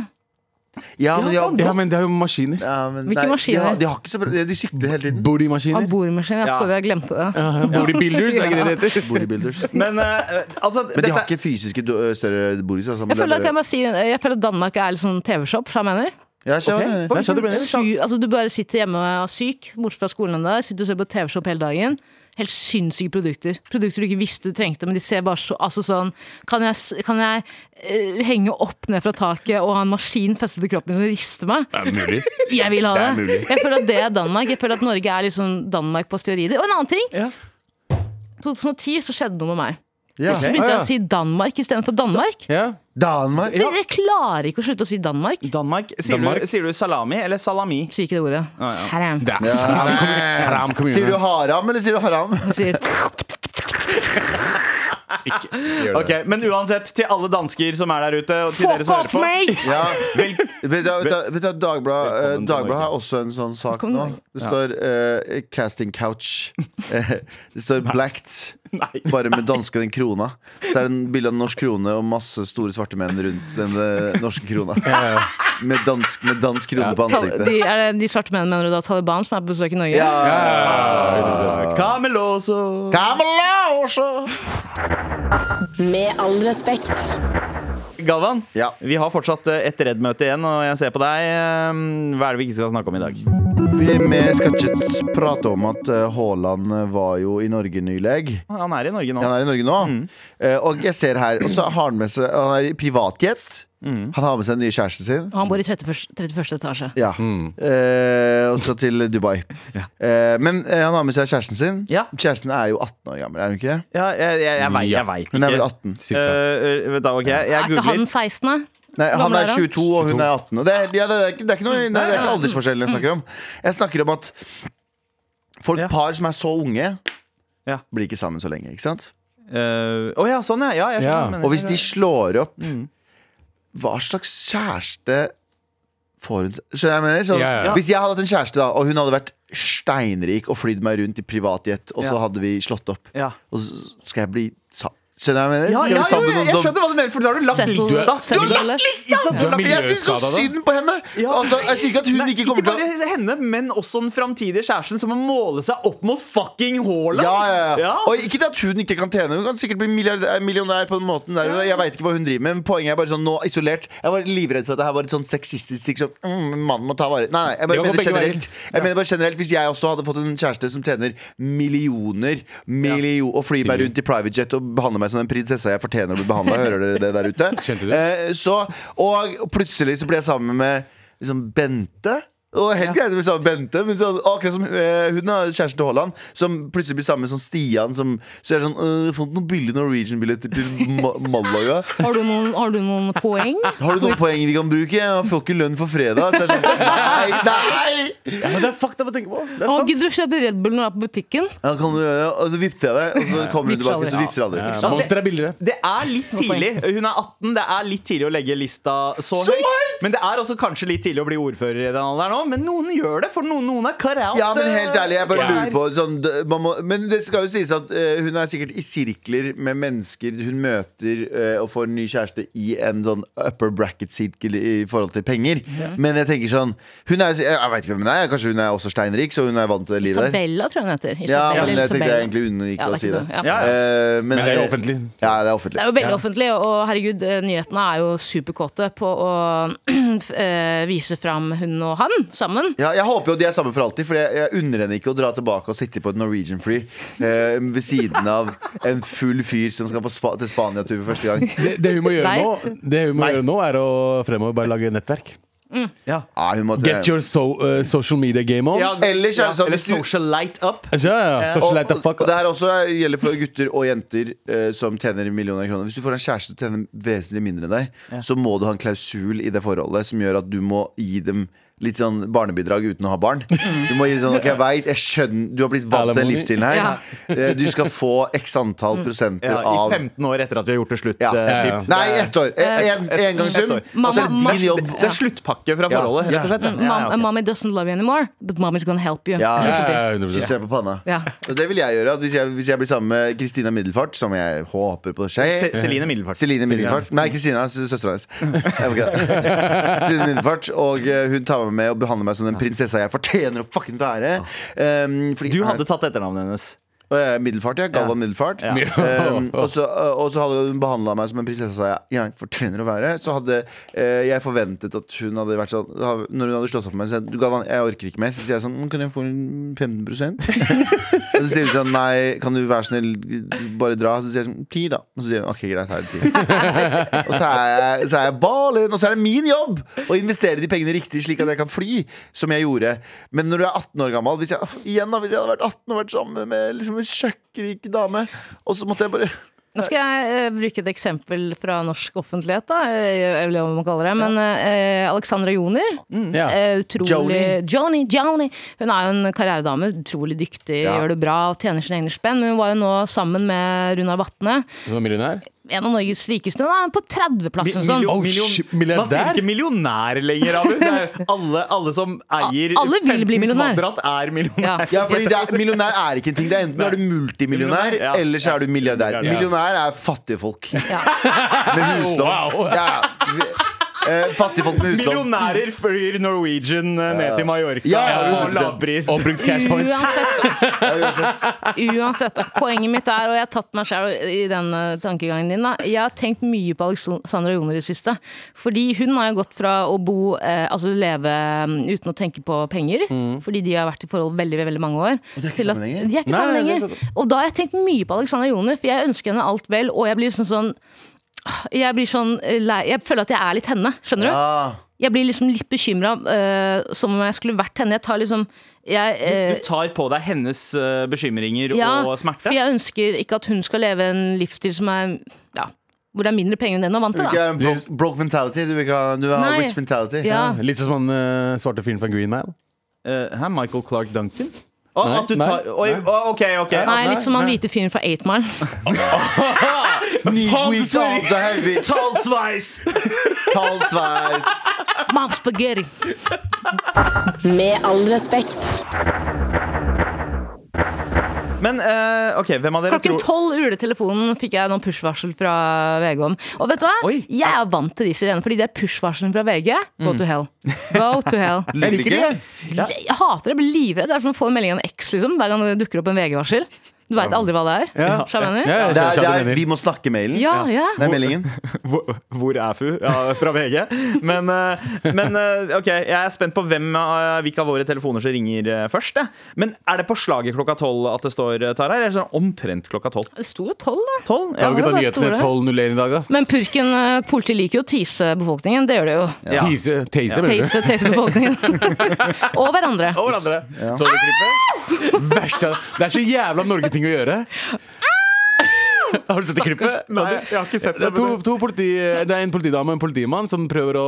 Speaker 4: Ja, men de har,
Speaker 3: Ja, men det er jo maskiner.
Speaker 4: ja, men,
Speaker 5: Hvilke
Speaker 4: nei,
Speaker 5: maskiner?
Speaker 4: De har, de har ikke så bra, de sykler hele tiden.
Speaker 5: Ah,
Speaker 3: Bodymaskiner.
Speaker 5: Boremaskiner.
Speaker 2: Ja.
Speaker 5: Ja. Sorry, jeg glemte det.
Speaker 3: Ja, Bodybuilders, er ikke det det heter?
Speaker 4: Bodybuilders. Men
Speaker 2: Men eh, altså
Speaker 4: de
Speaker 2: dette-
Speaker 4: har ikke fysiske do- større boris. Altså, men det
Speaker 5: Jeg
Speaker 4: er
Speaker 5: føler at, jeg
Speaker 4: bare-
Speaker 5: må si, jeg føler at Danmark er litt sånn TV-shop, som jeg mener.
Speaker 4: Ja, skjønner
Speaker 2: Ok,
Speaker 4: jeg.
Speaker 2: oi,
Speaker 3: Nei, skjønner du Sånn. hva jeg mener?
Speaker 5: Sy, altså, du bare sitter hjemme og er syk, bortsett fra skolen en dag, sitter og ser på TV-shop hele dagen. Helt sinnssyke produkter. Produkter du ikke visste du trengte, men de ser bare så Altså sånn Kan jeg, s- kan jeg eh, henge opp ned fra taket og ha en maskin festet til kroppen min som rister meg?
Speaker 3: Det er mulig.
Speaker 5: Jeg vil ha
Speaker 3: Det er
Speaker 5: det!
Speaker 3: mulig.
Speaker 5: Jeg føler at det er Danmark. Jeg føler at Norge er liksom Danmark på steorider. Og en annen ting!
Speaker 2: Ja.
Speaker 5: 2010 så skjedde noe med meg.
Speaker 4: Ja.
Speaker 5: Så begynte
Speaker 3: Ah, ja.
Speaker 5: jeg å si Danmark istedenfor Danmark.
Speaker 3: Ja.
Speaker 4: Danmark.
Speaker 5: Jeg, jeg klarer ikke å slutte å si Danmark.
Speaker 2: Danmark. Sier,
Speaker 3: Danmark.
Speaker 2: Du, sier du salami eller salami?
Speaker 5: Sier ikke det ordet. Haram.
Speaker 3: Det er haram kommu- haram
Speaker 4: Sier du
Speaker 3: kommune.
Speaker 4: haram, eller sier du haram?
Speaker 2: [LAUGHS]
Speaker 5: Jeg Sier,
Speaker 2: Ok, Men uansett, til alle dansker som er der ute, og til dere
Speaker 5: Fuck
Speaker 2: som
Speaker 5: off,
Speaker 2: hører på
Speaker 5: mate!
Speaker 4: Ja. Vet du, vet du, vet du, Dagblad, eh,
Speaker 2: Velkommen til
Speaker 4: Dagbladet
Speaker 2: Norge.
Speaker 4: har også en sånn sak
Speaker 5: Velkommen
Speaker 4: nå.
Speaker 5: til Norge.
Speaker 4: Det står eh, 'Casting Couch'. [LAUGHS] Eh, det står 'Blacked'.
Speaker 2: [LAUGHS] Nei.
Speaker 4: Bare med danske den krona. Så er det en bilde av en norsk krone og masse store svarte menn rundt den eh, norske krona. Med dansk, med dansk krone på
Speaker 5: Tal de,
Speaker 4: ansiktet.
Speaker 5: er det de svarte mennene mener du da Taliban som er på besøk i Norge?
Speaker 2: Cameloso.
Speaker 4: Kameloso!
Speaker 1: Med all respekt.
Speaker 2: Galvan,
Speaker 4: Ja.
Speaker 2: vi har fortsatt eh, et Redd-møte igjen, og jeg ser på deg. eh, Hva er det vi ikke skal snakke om i dag?
Speaker 4: Vi vi skal ikke prate om at eh, Haaland var jo i Norge nylig.
Speaker 2: Han er i Norge nå.
Speaker 4: Han er i Norge nå. Eh, og jeg ser her Og så har han med seg Han er i privatjet. Han har med seg den nye kjæresten sin.
Speaker 5: Og han bor i 31. 31. etasje.
Speaker 4: Ja. Eh, og så til Dubai. Eh, men eh, han har med seg kjæresten sin.
Speaker 2: Ja.
Speaker 4: Kjæresten er jo 18 år gammel, er hun ikke det?
Speaker 2: Ja, jeg, jeg, jeg, vei- jeg veit ikke.
Speaker 4: Hun er vel 18.
Speaker 3: Cirka.
Speaker 2: Eh, eh, da, ok, jeg, jeg
Speaker 5: Er ikke han
Speaker 2: googler.
Speaker 5: 16., da?
Speaker 4: Nei, han
Speaker 5: gammel
Speaker 4: er
Speaker 5: er han?
Speaker 4: 22, og hun er 18. Og det, er, ja, det, er, ikke- det er ikke, noe, nei, det er ikke aldersforskjellen jeg snakker om. Jeg snakker om at folk,
Speaker 2: Ja.
Speaker 4: par som er så unge,
Speaker 2: Ja.
Speaker 4: blir ikke sammen så lenge. Ikke sant?
Speaker 2: Å ja, sånn, ja. ja, jeg skjønner,
Speaker 3: Ja.
Speaker 2: hva du mener.
Speaker 4: Og hvis de slår opp,
Speaker 2: Mm.
Speaker 4: hva slags kjæreste får hun seg? Skjønner jeg hva jeg mener? Så,
Speaker 3: Ja, ja, ja.
Speaker 4: Hvis jeg hadde hatt en kjæreste, da, og hun hadde vært steinrik og flydd meg rundt i privatjet, og så
Speaker 2: Ja.
Speaker 4: hadde vi slått opp,
Speaker 2: Ja.
Speaker 4: og så skal jeg bli sa Skjønner jeg hva jeg mener?
Speaker 2: Ja,
Speaker 4: Skal
Speaker 2: ja,
Speaker 4: vi
Speaker 2: ja,
Speaker 4: sammen
Speaker 2: ja,
Speaker 4: med
Speaker 2: jeg
Speaker 4: noen som-
Speaker 2: skjønner hva du mener, for da har du lagt
Speaker 5: Settle-
Speaker 2: lista.
Speaker 5: settle
Speaker 2: Du har lagt
Speaker 5: litt.
Speaker 2: lista! Ja, du har
Speaker 3: Ja.
Speaker 2: lagt-
Speaker 4: jeg syns så
Speaker 3: Miljøskada, da.
Speaker 4: synd på henne!
Speaker 2: Ja.
Speaker 4: Altså, jeg sier ikke at hun
Speaker 2: Nei,
Speaker 4: ikke kommer til å
Speaker 2: bare henne, men også den framtidige kjæresten som må måle seg opp mot fucking Haaland!
Speaker 4: ja, ja, ja.
Speaker 2: Ja.
Speaker 4: Og ikke det at hun ikke kan tjene. Hun kan sikkert bli milliardær- millionær på den måten. Der. Jeg vet ikke hva hun driver med, men poenget er bare sånn nå isolert. Jeg var livredd for at det her var et sånn sexistisk ting som mm, mannen må ta vare
Speaker 3: Det
Speaker 4: Nei, nei, jeg bare
Speaker 3: kan gå
Speaker 4: mener
Speaker 3: begge
Speaker 4: generelt. Jeg mener bare generelt Hvis jeg også hadde fått en kjæreste som tjener millioner, millio og flyr meg rundt i private jet og behandler meg som den prinsessa jeg fortjener å bli
Speaker 3: [LAUGHS]
Speaker 4: behandla, hører dere det der ute?
Speaker 3: Kjente du?
Speaker 4: Eh, så, og plutselig så ble jeg sammen med liksom Bente. Og helt greit med sammen med Bente, men så, akkurat som eh, hun har kjæresten til Haaland, som plutselig blir sammen med sånn Stian, som så er det sånn «Øh, Jeg har fått noen billige Norwegian-billetter til
Speaker 3: [LAUGHS]
Speaker 4: Ma Malaga.
Speaker 5: Har du noen, har du noen
Speaker 2: [LAUGHS]
Speaker 5: poeng?
Speaker 4: Har du noen poeng vi kan bruke? Jeg får ikke lønn for fredag. Så er det sånn Nei, nei!
Speaker 3: Ja, men det er fucked up å tenke på. Det er
Speaker 5: Å,
Speaker 3: sant.
Speaker 5: gidder du å kjøpe Red Bull når du er på butikken?
Speaker 4: Ja, kan du, ja, og så vipser jeg deg, og så kommer du
Speaker 5: Vipser
Speaker 4: tilbake, og så
Speaker 5: aldri.
Speaker 4: vipser du aldri.
Speaker 3: Ja, Monster er billigere.
Speaker 2: Det er litt tidlig. Hun er 18. Det er litt tidlig å legge lista så,
Speaker 4: Så
Speaker 2: høyt.
Speaker 4: høyt!
Speaker 2: Men det er også kanskje litt tidlig å bli ordfører i den alderen òg. Men noen gjør det, for noen, noen er karate.
Speaker 4: Ja, men helt ærlig, jeg bare
Speaker 2: Ja.
Speaker 4: lurer på sånn, d- man må, Men det skal jo sies at eh, hun er sikkert i sirkler med mennesker hun møter eh, og får en ny kjæreste i en sånn upper bracket sirkel i forhold til penger. Men jeg tenker sånn hun er, Jeg, jeg veit ikke hvem hun er, kanskje hun er også steinrik, så hun er vant til det livet der.
Speaker 5: Isabella, tror jeg hun heter.
Speaker 4: Ja,
Speaker 5: Isabella
Speaker 4: men
Speaker 5: eller
Speaker 4: jeg tenkte jeg
Speaker 5: Isabella.
Speaker 4: egentlig unngikk
Speaker 5: Ja, det er
Speaker 4: å si
Speaker 5: ikke
Speaker 4: det.
Speaker 5: noe, ja.
Speaker 2: Ja, ja.
Speaker 4: Eh,
Speaker 3: Men det er jo offentlig.
Speaker 4: Ja, det er
Speaker 5: Det
Speaker 4: offentlig.
Speaker 5: er jo veldig offentlig, og [CLEARS THROAT] herregud, eh, nyhetene er jo superkåte på å eh, vise fram hun og han. sammen.
Speaker 4: Ja, jeg håper jo de er sammen for alltid, for jeg, jeg unner henne ikke å dra tilbake og sitte på et Norwegian-fly eh, ved siden av en full fyr som skal på spa til Spania-tur for første gang.
Speaker 3: Det, det hun må gjøre
Speaker 5: Nei.
Speaker 3: nå, det hun må
Speaker 4: Nei.
Speaker 3: gjøre nå er å fremover bare lage nettverk.
Speaker 2: Ja.
Speaker 4: Ah, hun måtte,
Speaker 3: Get your so, eh, social media game on.
Speaker 4: Ellers er det sånn,
Speaker 2: Eller
Speaker 4: hvis du-
Speaker 2: social light up.
Speaker 3: Ja, ja,
Speaker 4: og,
Speaker 3: social light the fuck
Speaker 4: og det her også er- gjelder for gutter og jenter eh, som tjener millioner av kroner. Hvis du får en kjæreste som tjener vesentlig mindre enn deg, så må du ha en klausul i det forholdet som gjør at du må gi dem Litt sånn barnebidrag uten å ha barn.
Speaker 3: Mm.
Speaker 4: Du må gi sånn, ok, jeg vet, jeg skjønner Du har blitt vant til den
Speaker 3: Alimony.
Speaker 4: livsstilen her.
Speaker 5: Ja.
Speaker 4: Eh, Du skal få x
Speaker 3: Mm.
Speaker 4: antall prosenter
Speaker 2: Ja, I
Speaker 4: av
Speaker 2: 15 år etter at vi har gjort det slutt.
Speaker 4: Ja.
Speaker 2: eh,
Speaker 3: Ja, ja.
Speaker 2: typ.
Speaker 4: Nei, ett år. E- En,
Speaker 2: ett-
Speaker 4: engangssum.
Speaker 2: ett
Speaker 5: år.
Speaker 4: Og så er
Speaker 5: Mamma-
Speaker 4: det din
Speaker 2: Så
Speaker 4: jobb.
Speaker 2: det er sluttpakke fra
Speaker 4: Ja.
Speaker 2: forholdet, rett og slett.
Speaker 5: Mom,
Speaker 2: Ja, ja, ok.
Speaker 5: Mommy doesn't love you anymore, but mommy's gonna help you. sånn
Speaker 4: Ja,
Speaker 3: Ja,
Speaker 4: ja,
Speaker 3: ja, ja, 100%.
Speaker 4: Så står jeg på panna.
Speaker 5: Ja.
Speaker 4: Så det vil jeg gjøre. At hvis, jeg, hvis jeg blir sammen med Kristina Middelfart, som jeg håper på
Speaker 2: Se-
Speaker 4: skjer
Speaker 2: Celine Middelfart.
Speaker 4: Celine Middelfart. Nei, Kristina. s- Søstera hennes. Jeg må ikke det. Celine Middelfart. Og eh, hun tar meg med og behandler meg som den prinsessa jeg fortjener å fucking være. Um, fordi-
Speaker 2: Du hadde tatt etternavnet hennes.
Speaker 4: Eh, Middelfart, ja. Galvan Middelfart. [LAUGHS]
Speaker 2: Ja.
Speaker 4: Um, og, så, og så hadde hun behandla meg som en prinsesse jeg, jeg fortjener å være. Så hadde eh, jeg forventet at hun hadde vært sånn Når hun hadde slått opp med meg, så sa hun, du Galvan, jeg orker ikke mer. Så sier jeg sånn «Men Kan jeg få en 15 [LAUGHS] Og så sier hun sånn Nei, kan du være snill, bare dra? Så sier jeg sånn Ti, da. Og så sier hun OK, greit, her er ti. Og så er, jeg, så er jeg ballen, og så er det min jobb å investere de pengene riktig, slik at jeg kan fly, som jeg gjorde. Men når du er 18 år gammel hvis jeg, Igjen da, hvis jeg hadde vært 18 og vært sammen med liksom, en sjakkrik dame, og så måtte jeg bare
Speaker 5: Nå skal jeg eh, bruke et eksempel fra norsk offentlighet, da. eh, Eller hva man kaller det. Men eh, Alexandra Joner.
Speaker 3: Ja.
Speaker 5: eh, utrolig
Speaker 4: Joni.
Speaker 5: Joni. Joni, Hun er jo en karrieredame. Utrolig dyktig,
Speaker 4: Ja.
Speaker 5: gjør det bra og tjener sine egne spenn. Men hun var jo nå sammen med Runar Vatne,
Speaker 3: Som er millionær.
Speaker 5: en av Norges rikeste. Hun er på 30-plass eller noe sånt.
Speaker 2: Million-
Speaker 3: Oh,
Speaker 2: million-
Speaker 3: shit,
Speaker 2: Man sier
Speaker 3: milliardær?
Speaker 2: ikke millionær lenger, Abu. Det
Speaker 5: [LAUGHS]
Speaker 2: er alle, alle som eier
Speaker 5: A- alle vil bli
Speaker 2: 15
Speaker 5: millionær.
Speaker 2: kvadrat, er millionær.
Speaker 5: Ja.
Speaker 4: ja, fordi det er, Millionær er ikke en ting. Det er Enten er du multimillionær,
Speaker 2: Millionær, ja.
Speaker 4: eller så er du milliardær.
Speaker 2: Ja.
Speaker 4: Millionær er fattige folk
Speaker 5: Ja.
Speaker 4: [LAUGHS] med huslån.
Speaker 3: Wow.
Speaker 4: Ja, eh, fattige folk med huslån.
Speaker 2: Millionærer flyr Norwegian eh, ned til Mallorca
Speaker 4: Ja, ja,
Speaker 2: på
Speaker 4: 100%.
Speaker 2: lavpris.
Speaker 3: Og brukt cash points.
Speaker 5: Uansett,
Speaker 4: Ja, uansett.
Speaker 5: uansett, poenget mitt er, og jeg har tatt meg selv i den eh, tankegangen din, da. jeg har tenkt mye på Alexandra Joner i det siste. Fordi hun har jo gått fra å bo, eh, altså leve mm, uten å tenke på penger, fordi de har vært i forhold veldig, veldig mange år. Og
Speaker 4: de er ikke sammen lenger.
Speaker 5: De er ikke
Speaker 3: Nei,
Speaker 5: sammen
Speaker 3: det er
Speaker 5: lenger. Og da har jeg tenkt mye på Alexandra Joner, for jeg ønsker henne alt vel, og jeg blir sånn sånn jeg blir sånn eh, lei Jeg føler at jeg er litt henne, skjønner du?
Speaker 4: Ah,
Speaker 5: Jeg blir liksom litt bekymra, som om jeg skulle vært henne. Jeg tar liksom jeg, eh,
Speaker 2: Du tar på deg hennes eh, bekymringer og smerte.
Speaker 5: for jeg ønsker ikke at hun skal leve en livsstil som er ja, hvor det er mindre penger enn det hun er vant
Speaker 4: du vil
Speaker 5: til.
Speaker 4: ikke
Speaker 5: Da.
Speaker 4: ha en broke, broke mentality? Du vil ikke ha, du vil ha
Speaker 5: Nei.
Speaker 4: rich mentality?
Speaker 5: Ja.
Speaker 3: Litt sånn som han eh, svarte fyren fra Green Mile.
Speaker 2: Eh, hæ, Michael Clark Duncan? Å,
Speaker 3: Nei,
Speaker 2: at du
Speaker 3: nei,
Speaker 2: tar, oi,
Speaker 3: nei.
Speaker 2: å, ok, ok.
Speaker 5: Nei,
Speaker 3: nei,
Speaker 5: litt som han
Speaker 3: nei.
Speaker 5: hvite fyren fra 8 Mile.
Speaker 4: Need
Speaker 2: Palm
Speaker 4: we
Speaker 2: tree.
Speaker 4: sounds are heavy.
Speaker 2: Talsveis!
Speaker 4: Kald sveis.
Speaker 5: Mom spaghetti!
Speaker 1: Med all respekt.
Speaker 2: Men eh, ok, hvem av dere
Speaker 5: Klokken
Speaker 2: tror
Speaker 5: tolv uler telefonen, fikk jeg noen push-varsel fra VG om. Og vet du hva?
Speaker 2: Oi.
Speaker 5: Jeg er vant til de sirenene, fordi det er push-varselen fra VG. Go to hell. Go to hell.
Speaker 4: Jeg liker det.
Speaker 5: Jeg hater det, jeg blir livredd. Det er som å få en melding av en eks liksom, hver gang det dukker opp en VG-varsel. Du veit aldri hva det er.
Speaker 3: Ja.
Speaker 5: Skjønner
Speaker 3: Ja,
Speaker 5: du hva jeg mener?
Speaker 3: ja,
Speaker 4: Det er, det
Speaker 3: skjønner
Speaker 4: er,
Speaker 3: hva du
Speaker 4: vi må snakke-mailen.
Speaker 5: Ja, ja.
Speaker 4: Det er meldingen.
Speaker 2: Hvor, hvor er FU? Ja, fra VG. Men, eh, men eh, ok, jeg er spent på hvem, eh, hvilke av våre telefoner som ringer eh, først. jeg. Men er det på slaget klokka tolv at det står, eh, Tara? Eller er det sånn omtrent klokka tolv?
Speaker 5: Det sto jo tolv, da.
Speaker 2: Tolv? Ja.
Speaker 3: Kan vi ikke ta
Speaker 5: det er
Speaker 3: nyhetene
Speaker 5: store.
Speaker 3: 12.01 i dag, da?
Speaker 5: Men purken, eh, politiet liker jo å tease befolkningen. Det gjør det jo.
Speaker 2: Ja.
Speaker 3: Tease, tease, mener du?
Speaker 5: Teise, teise befolkningen.
Speaker 3: [LAUGHS]
Speaker 5: og hverandre.
Speaker 3: Og hverandre. Så du klippet? Verst av- Det er så jævla Norge-ting å gjøre. Har du sett det klippet?
Speaker 2: Nei, jeg har ikke sett
Speaker 3: Det
Speaker 2: det.
Speaker 3: er, to,
Speaker 2: men-
Speaker 3: to politi, det er en politidame og en politimann som prøver å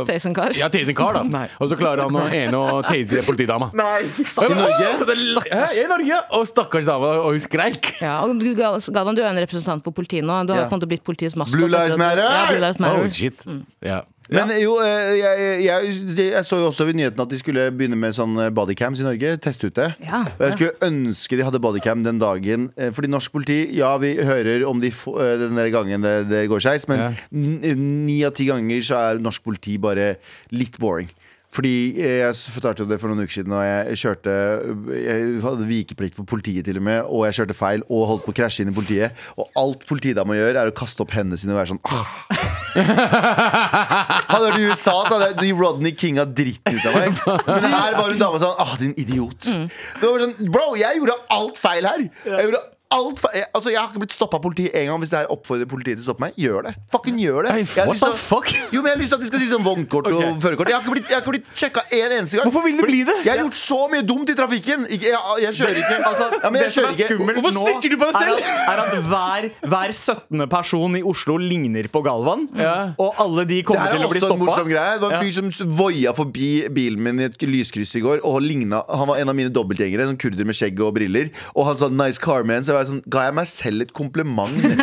Speaker 3: eh,
Speaker 5: Teise en kar.
Speaker 3: Ja, tase en kar, da.
Speaker 2: Nei.
Speaker 3: Og så klarer han å ene og tase politidama.
Speaker 2: Nei.
Speaker 3: I Norge?
Speaker 5: Stakkars.
Speaker 3: I Norge! Og stakkars dame, og hun skreik.
Speaker 5: Ja, og du, Gal- Galvan, du er en representant på politiet nå. Du har
Speaker 4: Ja.
Speaker 5: kommet til å bli politiets maskot.
Speaker 4: Blue Lives Matter!
Speaker 5: Ja, Blue Lives Matter.
Speaker 3: Oh, shit. Ja.
Speaker 4: Men jo, eh, jeg, jeg, det- jeg så jo også ved nyheten at de skulle begynne med sånn eh, bodycams i Norge. Teste ut det.
Speaker 5: Ja.
Speaker 4: Og jeg skulle ønske de hadde bodycam den dagen. eh, Fordi norsk politi, ja, vi hører om de få, eh, den der gangen det, det går skeis, men
Speaker 3: Ja.
Speaker 4: n- ni av ti ganger så er norsk politi bare litt boring. Fordi eh, jeg fortalte jo det for noen uker siden, og jeg kjørte Jeg hadde vikeplikt for politiet, til og med, og jeg kjørte feil og holdt på å krasje inn i politiet. Og alt politidama gjør, er å kaste opp hendene sine og være sånn ah. Hadde vært i USA, så hadde jeg- de Rodney Kinga dritten ut av meg. Men her var hun dama sånn Ah, din idiot. Det var sånn, Bro, jeg gjorde alt feil her. Jeg gjorde alt feil jeg, Altså, jeg har ikke blitt stoppa av politiet en gang. Hvis det her oppfordrer politiet til å stoppe meg, gjør det. Fucking gjør det.
Speaker 3: Hey,
Speaker 4: Jeg har
Speaker 3: what
Speaker 4: lyst til
Speaker 3: the
Speaker 4: å-
Speaker 3: fuck?
Speaker 4: Jo, men jeg har lyst til at de skal si sånn vognkort og førerkort. Jeg har ikke blitt, jeg har ikke blitt sjekka en eneste gang.
Speaker 3: Hvorfor vil de bli det?
Speaker 4: Jeg har gjort så mye dumt i trafikken. Ikke, jeg, jeg kjører ikke. Altså, ja, men jeg
Speaker 2: det som
Speaker 4: kjører
Speaker 2: er
Speaker 4: ikke.
Speaker 2: skummelt
Speaker 3: Hvorfor
Speaker 2: nå,
Speaker 3: snitcher du på deg
Speaker 2: Er
Speaker 3: selv?
Speaker 2: at, er at hver, hver 17. person i Oslo ligner på Galvan. Og alle de
Speaker 4: Det
Speaker 2: kommer
Speaker 4: her
Speaker 2: til
Speaker 4: er
Speaker 2: å bli
Speaker 4: også en morsom
Speaker 2: stoppa.
Speaker 4: greie. Det var en fyr som s- voia forbi bilen min i et lyskryss i går. Og ligna, Han var en av mine dobbeltgjengere, en sånn kurder med skjegg og briller. Og han sa 'nice car man', så jeg var sånn, ga jeg meg selv et kompliment.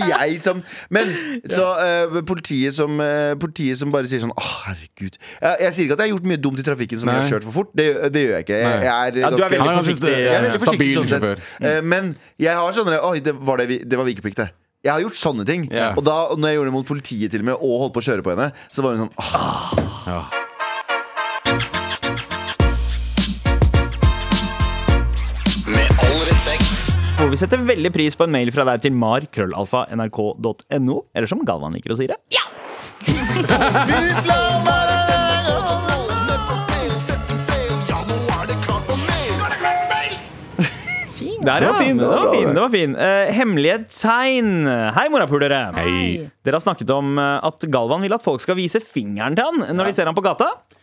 Speaker 4: [LAUGHS] bare jeg som Men så eh, politiet, som, eh, politiet som bare sier sånn 'Å, herregud'. Jeg, jeg sier ikke at jeg har gjort mye dumt i trafikken som jeg
Speaker 3: Nei.
Speaker 4: har kjørt for fort. Det, det gjør jeg ikke. Jeg,
Speaker 3: Nei.
Speaker 4: jeg er
Speaker 2: Ja, du er
Speaker 4: ganske
Speaker 2: veldig
Speaker 3: Han er ganske
Speaker 2: forsiktig.
Speaker 3: st-
Speaker 4: jeg er veldig forsiktig
Speaker 3: stabil
Speaker 4: sånn sett.
Speaker 3: sjåfør.
Speaker 4: Eh, Men jeg har sånne Oi, det var, det, vi- det var vikeplikt, det. Jeg har gjort sånne ting.
Speaker 3: Ja.
Speaker 4: Og da når jeg gjorde det mot politiet til og med og holdt på å kjøre på henne, så var hun sånn «Åh,
Speaker 7: Med all respekt.
Speaker 2: Hvor vi setter veldig pris på en mail fra deg til mar.krøllalfa.nrk.no. Eller som Galvan liker å si det. Der, ja.
Speaker 3: var fin,
Speaker 2: Det
Speaker 3: det
Speaker 2: var
Speaker 3: var
Speaker 2: fin.
Speaker 3: bra,
Speaker 2: Det var fin. Eh, hemmelige tegn. Hei, morapulere. Dere har snakket om eh, at Galvan vil at folk skal vise fingeren til han når de ser han på gata. Eh,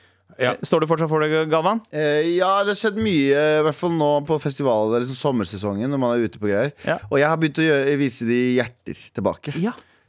Speaker 3: Ja.
Speaker 2: Står du fortsatt for det, Galvan?
Speaker 4: eh, Ja, det har skjedd mye, i hvert fall nå på festivaler, det er liksom sommersesongen, når man er ute på greier.
Speaker 2: Ja.
Speaker 4: Og jeg har begynt å gjøre, vise de hjerter tilbake.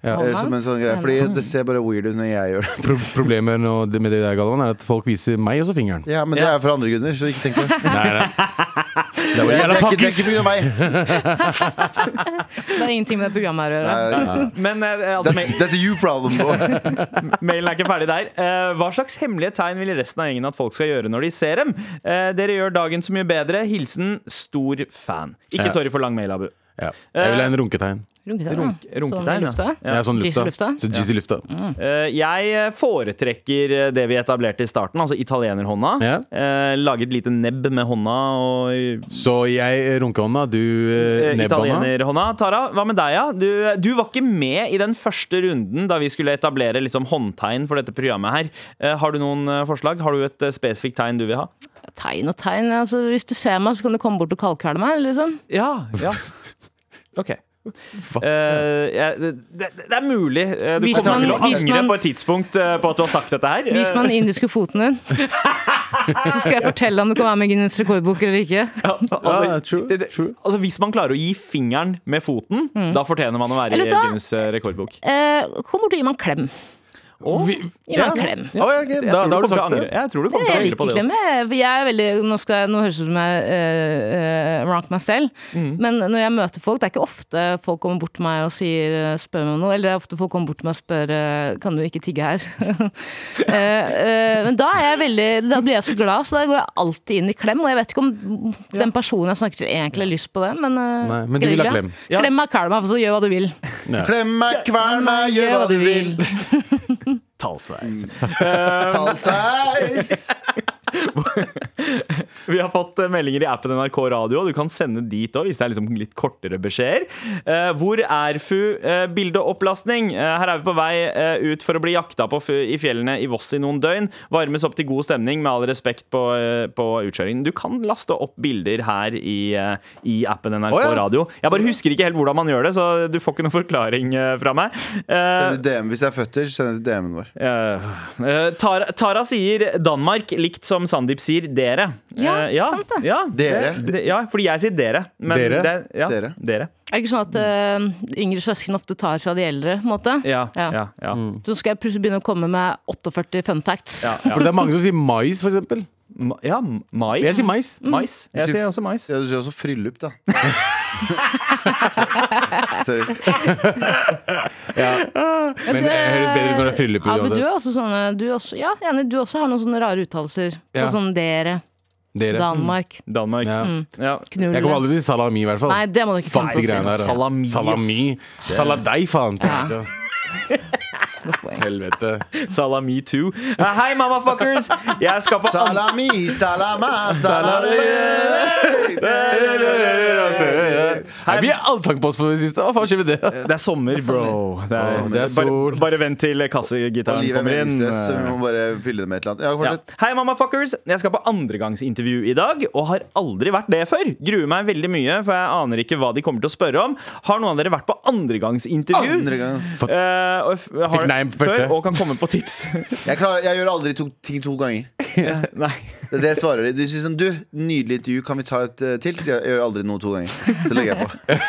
Speaker 4: Eh, Som en sånn greie, fordi det ser bare weird ut når jeg gjør det. [LAUGHS]
Speaker 3: Pro problemet nå, det- med det der, Galvan, er at folk viser meg også fingeren.
Speaker 4: Ja, Men det er for andre grunner, så ikke tenk på [LAUGHS] det. Det
Speaker 3: Det var
Speaker 4: er
Speaker 3: jævla
Speaker 4: ikke, det er
Speaker 3: pakkis!
Speaker 4: ikke på grunn av [LAUGHS] meg.
Speaker 5: Det er ingenting med det programmet her å gjøre.
Speaker 2: Men eh, altså,
Speaker 4: That's, that's a you problem. bro.
Speaker 2: Mailen er ikke ferdig der. Eh, hva slags hemmelige tegn vil resten av gjengen at folk skal gjøre når de ser dem? Eh, dere gjør dagen så mye bedre. Hilsen stor fan. Ikke
Speaker 3: Ja.
Speaker 2: sorry for lang mail, Abu.
Speaker 3: Ja. Jeg vil ha en runketegn.
Speaker 5: Runketegn,
Speaker 2: Runk-
Speaker 5: ja.
Speaker 2: runketegn, ja.
Speaker 5: sånn i lufta.
Speaker 3: Ja, sånn
Speaker 5: Jizz i
Speaker 3: lufta.
Speaker 5: lufta?
Speaker 3: Så jizz i lufta.
Speaker 2: Eh, jeg foretrekker eh, det vi etablerte i starten, altså italienerhånda.
Speaker 3: Ja.
Speaker 2: Eh, lage et lite nebb med hånda og
Speaker 3: Så jeg runkehånda, du
Speaker 2: eh,
Speaker 3: eh, nebbhånda.
Speaker 2: italienerhånda. Tara, hva med deg? Ja? Du, eh, du var ikke med i den første runden da vi skulle etablere liksom, håndtegn for dette programmet her. Eh, har du noen eh, forslag? Har du et eh, spesifikt tegn du vil ha?
Speaker 5: Tegn og tegn. Altså, hvis du ser meg, så kan du komme bort og kaldkvele meg. Liksom.
Speaker 2: Ja,
Speaker 3: [LAUGHS]
Speaker 2: ja. Ok.
Speaker 3: Hva?
Speaker 2: Eh, jeg- det, det, det er mulig. Eh, Du
Speaker 5: Hvis
Speaker 2: kommer til å
Speaker 5: man- hvis
Speaker 2: angre
Speaker 5: man-
Speaker 2: på et tidspunkt eh, på at du har sagt dette her.
Speaker 5: Vis
Speaker 2: Eh,
Speaker 5: meg den indiske foten din, så skal jeg fortelle om du kan være med i Guinness rekordbok eller ikke.
Speaker 2: ja, altså,
Speaker 3: Ja, true,
Speaker 2: det- det-
Speaker 3: true.
Speaker 2: Altså, hvis man klarer å gi fingeren med foten, da fortjener man å være
Speaker 5: Mm. Eller
Speaker 2: i
Speaker 5: da-
Speaker 2: Guinness eh, rekordbok.
Speaker 5: Eh, kom bort og gi meg en klem.
Speaker 2: Og,
Speaker 5: Gi meg en klem.
Speaker 3: Å, ja, ok,
Speaker 2: jeg,
Speaker 3: Da
Speaker 2: tror
Speaker 3: da har
Speaker 2: du
Speaker 3: du
Speaker 2: kommer til å
Speaker 3: sagt
Speaker 2: angre.
Speaker 3: det.
Speaker 2: jeg tror du kommer til å
Speaker 5: Jeg
Speaker 2: angre på
Speaker 5: liker
Speaker 2: det.
Speaker 5: klem. jeg. Jeg er veldig, nå, skal, jeg- nå høres det ut som jeg eh, eh, rank meg selv,
Speaker 3: Mm.
Speaker 5: men når jeg møter folk Det er ikke ofte folk kommer bort til meg og sier, eh, spør meg om noe. Eller det er ofte folk kommer bort til meg og spør eh, Kan du ikke tigge her. [LAUGHS] Eh, eh, men da, er jeg veldig, da blir jeg så glad, så da går jeg alltid inn i klem. Og jeg vet ikke om den personen jeg snakker til, egentlig har lyst på det, men, eh,
Speaker 3: Nei, men du vil ha
Speaker 5: hyggelig,
Speaker 3: klem.
Speaker 5: ja.
Speaker 2: Ja.
Speaker 5: Klem meg, kæl meg, så gjør hva du vil.
Speaker 4: [LAUGHS] Klem meg, kvern meg, gjør hva du vil.
Speaker 2: Talsveis.
Speaker 4: Kall seg
Speaker 2: Vi har fått eh, meldinger i appen NRK Radio. og Du kan sende dit òg hvis det er liksom litt kortere beskjeder. Eh, hvor er FU? Eh, bildeopplastning. Eh, her er vi på vei eh, ut for å bli jakta på FU i fjellene i Voss i noen døgn. Varmes opp til god stemning, med all respekt på, eh, på utkjøringen. Du kan laste opp bilder her i, eh, i appen NRK
Speaker 3: Å, ja.
Speaker 2: Radio. Jeg bare husker ikke helt hvordan man gjør det, så du får ikke noen forklaring eh, fra meg. Eh,
Speaker 4: Send det DM hvis det er føtter, send det til DM-en vår.
Speaker 2: Eh, eh, Tara, Tara sier Danmark, likt som Sandeep sier dere.
Speaker 5: Ja,
Speaker 2: Eh, ja,
Speaker 5: sant det.
Speaker 2: Ja,
Speaker 4: Dere.
Speaker 2: D- ja, fordi jeg sier dere. Men
Speaker 3: Dere.
Speaker 2: Det, ja, dere.
Speaker 4: Dere.
Speaker 5: Er det ikke sånn at eh, yngre søsken ofte tar fra de eldre? på en måte?
Speaker 2: Ja, ja, ja. ja.
Speaker 5: Så skal jeg plutselig begynne å komme med 48 fun facts.
Speaker 3: For det er mange som sier mais, for eksempel.
Speaker 2: Ma- ja mais.
Speaker 3: Jeg sier mais.
Speaker 5: Mm.
Speaker 2: mais. Jeg sier også mais.
Speaker 4: Ja, du sier også fryllup, da. [LAUGHS] Sorry.
Speaker 3: Men det høres bedre ut når det er fryllup.
Speaker 5: Abu, du
Speaker 3: uansett.
Speaker 5: er også sånne du er også, Ja, enig, du også har noen sånne rare uttalelser.
Speaker 3: Ja.
Speaker 5: På sånn dere,
Speaker 3: Dere.
Speaker 5: Danmark,
Speaker 2: Danmark. Mm.
Speaker 3: Ja.
Speaker 2: Ja.
Speaker 3: Jeg
Speaker 5: knulle
Speaker 3: kommer aldri til å si salami, i hvert fall.
Speaker 5: Mm, Nei, det må du ikke
Speaker 3: Fuck
Speaker 5: finne
Speaker 3: de
Speaker 5: på å
Speaker 3: greiene
Speaker 5: si.
Speaker 3: der. da.
Speaker 2: Salami.
Speaker 3: Salami. Saladei, faen.
Speaker 5: Godt poeng.
Speaker 3: Helvete.
Speaker 2: Sala me too. Eh, Hei, mamafuckers! Jeg skal på an-
Speaker 4: Salami, salama, salami
Speaker 3: Nei, Vi er allsang på oss på det siste. Hva faen skjer med det?
Speaker 2: Det er sommer, bro. Det er,
Speaker 3: Det er sol.
Speaker 2: Bare, bare vent til
Speaker 4: Og
Speaker 2: kassegitaren
Speaker 4: livet er
Speaker 2: kommer inn.
Speaker 4: meningsløst, så vi må bare fylle det med et eller annet. Ja,
Speaker 2: Ja.
Speaker 4: fortsett.
Speaker 2: Hei, mamafuckers! Jeg skal på andregangsintervju i dag, og har aldri vært det før. Gruer meg veldig mye, for jeg aner ikke hva de kommer til å spørre om. Har noen av dere vært på andregangsintervju?
Speaker 4: Andre gang.
Speaker 2: Eh, og f- har,
Speaker 3: Fikk nei på første.
Speaker 2: Før, og kan komme på tips. [LAUGHS]
Speaker 4: Jeg, klarer, jeg gjør aldri to, ting to ganger.
Speaker 2: nei.
Speaker 4: Det er det jeg svarer de. De sier sånn Du, nydelig intervju, kan vi ta et eh, til? Så jeg jeg gjør aldri noe to ganger. Så legger jeg på.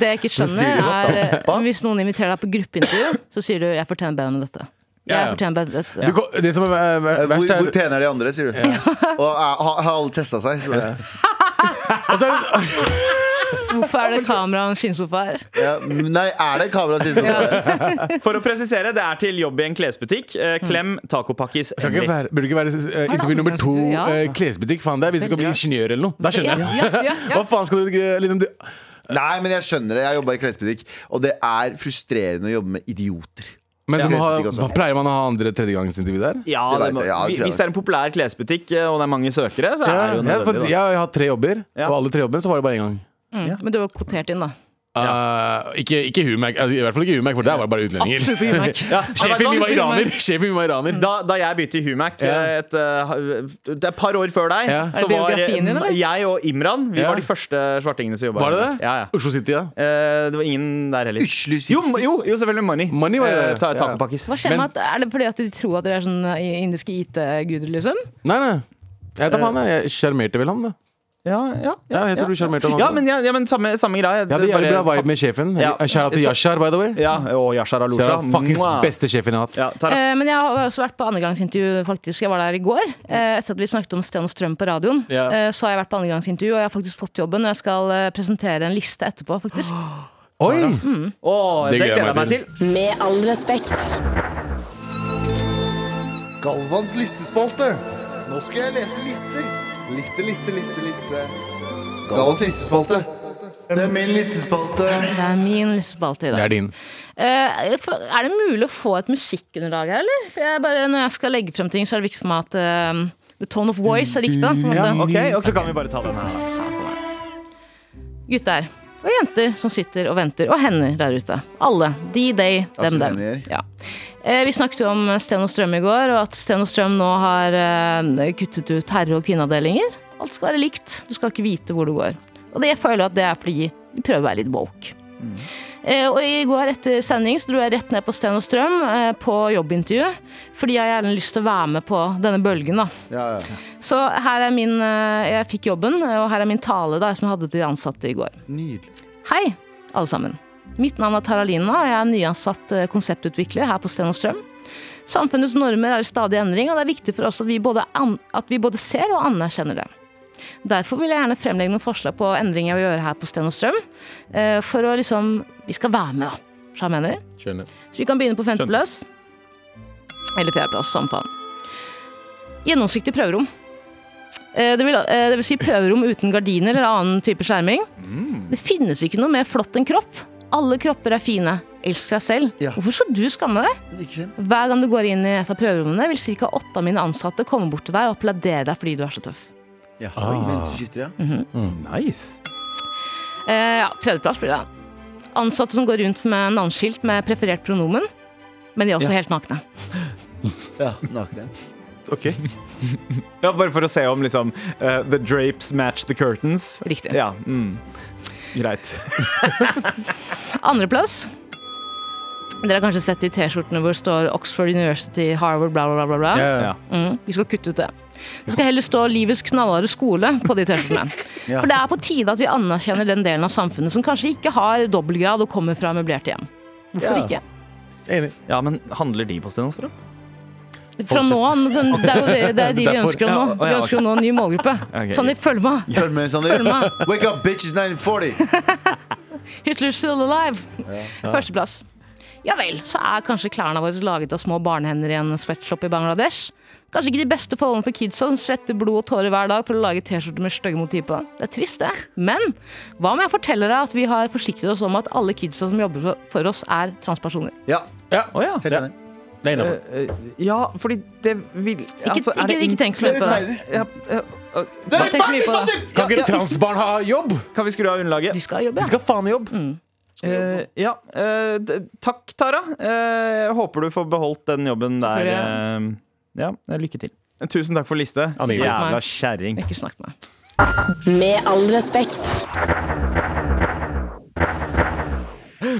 Speaker 5: Det jeg ikke
Speaker 4: sier
Speaker 5: skjønner,
Speaker 4: du, what
Speaker 5: er
Speaker 4: the
Speaker 5: eh,
Speaker 4: fuck?
Speaker 5: hvis noen inviterer deg på gruppeintervju, så sier du 'jeg fortjener bedre enn dette'.
Speaker 3: Ja, ja.
Speaker 5: Jeg fortjener bedre enn dette.
Speaker 3: Du, kom- det som er ver- ver-
Speaker 4: Eh, Hvor,
Speaker 3: verst,
Speaker 4: hvor
Speaker 3: er
Speaker 4: pene er de andre, sier du. Og eh, har, har alle testa seg? spør jeg.
Speaker 3: Og så er det-
Speaker 5: Hvorfor er det kamera og en skinnsofa
Speaker 3: [LAUGHS]
Speaker 5: her?
Speaker 4: Ja, men nei, er det kamera siden av det?
Speaker 2: For å presisere, det er til jobb i en klesbutikk. Eh, klem tacopakkis
Speaker 3: Skal ikke
Speaker 2: Emily.
Speaker 3: være, burde ikke være eh, intervju nummer to
Speaker 5: Ja.
Speaker 3: eh, klesbutikk. Faen det er hvis du skal bli ingeniør eller noe. Da skjønner jeg.
Speaker 5: Ja, ja, ja,
Speaker 3: [LAUGHS]
Speaker 5: ja.
Speaker 3: Hva faen skal du eh, liksom du,
Speaker 4: Nei, men jeg skjønner det. Jeg jobba i klesbutikk, og det er frustrerende å jobbe med idioter.
Speaker 3: Men du må ha,
Speaker 4: Klesbutikk også.
Speaker 3: hva pleier man å ha andre tredjegangsintervju der?
Speaker 2: Ja,
Speaker 4: Det
Speaker 2: det
Speaker 4: vet
Speaker 2: må,
Speaker 4: jeg, ja, det
Speaker 2: hvi-
Speaker 4: tror jeg.
Speaker 2: hvis det er en populær klesbutikk eh, og det er mange søkere, så er det jo
Speaker 3: Ja, for
Speaker 2: nødvendig.
Speaker 3: jeg
Speaker 2: da.
Speaker 3: har hatt tre jobber,
Speaker 2: Ja.
Speaker 3: og alle tre jobbene så var det bare én gang.
Speaker 5: mm. Men du var kvotert inn, da.
Speaker 3: Eh, ikke ikke Humac, eh, i hvert fall ikke Humac, for der var det bare utlendinger. [LAUGHS]
Speaker 5: Absolutt ikke Sånn merk.
Speaker 2: Ja,
Speaker 3: Sjefen min
Speaker 5: Absolutt
Speaker 3: var
Speaker 5: ikke
Speaker 3: iraner!
Speaker 5: Humac.
Speaker 3: Sjefen min var iraner
Speaker 2: Mm. Da, da jeg begynte i Humac
Speaker 3: Ja.
Speaker 2: eh, et, eh, det er et par år før deg,
Speaker 3: Ja.
Speaker 2: så
Speaker 5: Er det
Speaker 2: var eh,
Speaker 5: biografien din, eller?
Speaker 2: jeg og Imran Vi
Speaker 3: Ja.
Speaker 2: var de første svartingene som jobba.
Speaker 3: Var det det?
Speaker 2: Ja, ja.
Speaker 3: Oslo City, ja.
Speaker 2: Eh, det var ingen der heller.
Speaker 4: Uslu sist.
Speaker 2: Jo, jo, jo, selvfølgelig Money.
Speaker 3: Money var det,
Speaker 2: Eh, ta,
Speaker 3: ja.
Speaker 2: tacopakkis.
Speaker 5: Hva skjer med at, Er det fordi at de tror at dere er sånn eh, indiske IT-guder, liksom?
Speaker 3: Nei, nei. Jeg vet da faen, jeg. jeg sjarmerte vel han, da.
Speaker 2: Ja, ja, ja,
Speaker 3: Ja, jeg tror du sjarmerte han.
Speaker 2: ja,
Speaker 3: også.
Speaker 2: men, ja, ja, men samme, samme greie.
Speaker 3: jeg hadde
Speaker 2: Det
Speaker 3: jævlig
Speaker 2: bare-
Speaker 3: bra vibe med sjefen.
Speaker 2: Ja.
Speaker 3: Kjære til
Speaker 2: Så-
Speaker 3: Yashar, by the way.
Speaker 2: Ja, og Yashar Alusha.
Speaker 3: Kjære fuckings
Speaker 2: Mwah.
Speaker 3: beste sjefen jeg har hatt.
Speaker 2: Ja, Tara.
Speaker 5: Eh, men jeg har også vært på andregangsintervju, faktisk. Jeg var der i går. Eh, etter at vi snakket om Sten og Strøm på radioen,
Speaker 3: Ja.
Speaker 5: eh, så har jeg vært på andregangsintervju, og jeg har faktisk fått jobben. Og jeg skal eh, presentere en liste etterpå,
Speaker 3: [GASPS]
Speaker 5: faktisk.
Speaker 3: Oi!
Speaker 2: Å, det
Speaker 3: det gleder
Speaker 2: gleder jeg
Speaker 3: jeg
Speaker 2: meg til.
Speaker 1: Med all respekt.
Speaker 4: Galvans listespalte. Nå skal jeg lese lister. Liste, liste, liste, liste. Galvans listespalte. Det er min listespalte.
Speaker 5: Det er min listespalte i dag.
Speaker 3: Det er din.
Speaker 5: Eh, for- er det mulig å få et musikkunderlag her, eller? For jeg bare, når jeg skal legge frem ting, så er det viktig for meg at eh, the tone of voice er riktig. Da, på en måte.
Speaker 2: Ok, og så kan vi bare ta den her. da.
Speaker 5: Gutter og jenter som sitter og venter, og hender der ute. Alle. De, they, dem,
Speaker 4: Aksel
Speaker 5: dem.
Speaker 4: Hennie.
Speaker 5: Ja. Eh, Vi snakket jo om Sten og Strøm i går, og at Sten og Strøm nå har eh, kuttet ut herre- og kvinneavdelinger. Alt skal være likt. Du skal ikke vite hvor du går. Og det jeg føler at det er fordi de prøver å være litt woke. Eh, Og I går etter sending så dro jeg rett ned på Sten og Strøm eh, på jobbintervju. Fordi jeg har gjerne lyst til å være med på denne bølgen. da
Speaker 4: Ja, ja.
Speaker 5: Så her er min eh, Jeg fikk jobben, og her er min tale da, som jeg hadde til de ansatte i går.
Speaker 4: Nydelig.
Speaker 5: Hei, alle sammen. Mitt navn er Taralina, og jeg er nyansatt eh, konseptutvikler her på Sten og Strøm. Samfunnets normer er i stadig endring, og det er viktig for oss at vi både, an at vi både ser og anerkjenner det. Derfor vil jeg gjerne fremlegge noen forslag på endringer jeg vil gjøre her på Sten og Strøm. eh, For å liksom Vi skal være med, da. Så jeg mener.
Speaker 3: Skjønner.
Speaker 5: Så vi kan begynne på femteplass. Eller fjerdeplass, samme faen. Gjennomsiktig prøverom. Eh, Det vil, eh, det vil si prøverom uten gardiner eller annen type skjerming. Det finnes ikke noe mer flott enn kropp. Alle kropper er fine. Elsk deg selv.
Speaker 4: Ja.
Speaker 5: Hvorfor skal du skamme deg?
Speaker 4: Ikke skjem.
Speaker 5: Hver gang du går inn i et av prøverommene, vil ca. åtte av mine ansatte komme bort til deg og applaudere deg fordi du er så tøff.
Speaker 4: Ja. Oi, mens du skifter, ja.
Speaker 2: Nice.
Speaker 5: Eh, ja, tredjeplass blir det. Ansatte som går rundt med navneskilt med preferert pronomen, men de er også helt nakne.
Speaker 4: ja nakne.
Speaker 2: Ok. Ja, bare for å se om liksom eh, The drapes match the curtains.
Speaker 5: Riktig.
Speaker 2: Ja, mm. Greit.
Speaker 5: Andreplass. Dere har kanskje sett de T-skjortene hvor det står Oxford University, Harvard, bla, bla, bla. bla, bla.
Speaker 8: Eh,
Speaker 3: Ja, ja.
Speaker 2: Ja.
Speaker 5: Mm, vi skal kutte ut det. Det skal heller stå 'Livets knallharde skole' på de T-skjortene. For det er på tide at vi anerkjenner den delen av samfunnet som kanskje ikke har dobbeltgrad og kommer fra møblerte hjem. Hvorfor ikke?
Speaker 3: Enig.
Speaker 2: Ja, men handler de på Stenåstrøm?
Speaker 5: Fra nå an, men det er jo det, det, er de vi
Speaker 3: Derfor-
Speaker 5: ønsker å nå.
Speaker 2: ja,
Speaker 5: Vi ønsker å nå en ny målgruppe.
Speaker 2: Ok.
Speaker 5: Sånn, de følger med.
Speaker 4: Følg med, Sander. Wake up, bitches [LAUGHS] 1940.
Speaker 5: Hitler's still alive. Førsteplass. Ja vel, så er kanskje klærne våre laget av små barnehender i en sweatshop i Bangladesh. Kanskje ikke de beste forholdene for kidsa som svetter blod og tårer hver dag for å lage T-skjorter med stygge motiv på. Det er trist, det. Men hva om jeg forteller deg at vi har forsikret oss om at alle kidsa som jobber for oss, er transpersoner?
Speaker 4: Ja,
Speaker 3: Ja,
Speaker 2: Å ja.
Speaker 4: helt enig.
Speaker 3: det er innafor.
Speaker 8: Eh, ja, fordi det vil
Speaker 5: Ikke, ikke, ikke tenk så mye på det.
Speaker 8: ja, eh, ok.
Speaker 5: Ikke tenk så mye på det.
Speaker 3: Kan ikke transbarn ha jobb?
Speaker 8: Kan vi skru av underlaget?
Speaker 5: De skal jobbe,
Speaker 3: De
Speaker 5: ja. Mm.
Speaker 3: skal faen i jobb.
Speaker 8: Eh, ja. eh, d- takk, Tara. Eh, jeg håper du får beholdt den jobben der.
Speaker 5: Selvfølgelig.
Speaker 8: eh, ja, eh, lykke til. Tusen takk for liste.
Speaker 3: Anne Ingrid.
Speaker 8: Jævla kjerring.
Speaker 5: Ikke snakk med meg.
Speaker 1: Med all respekt.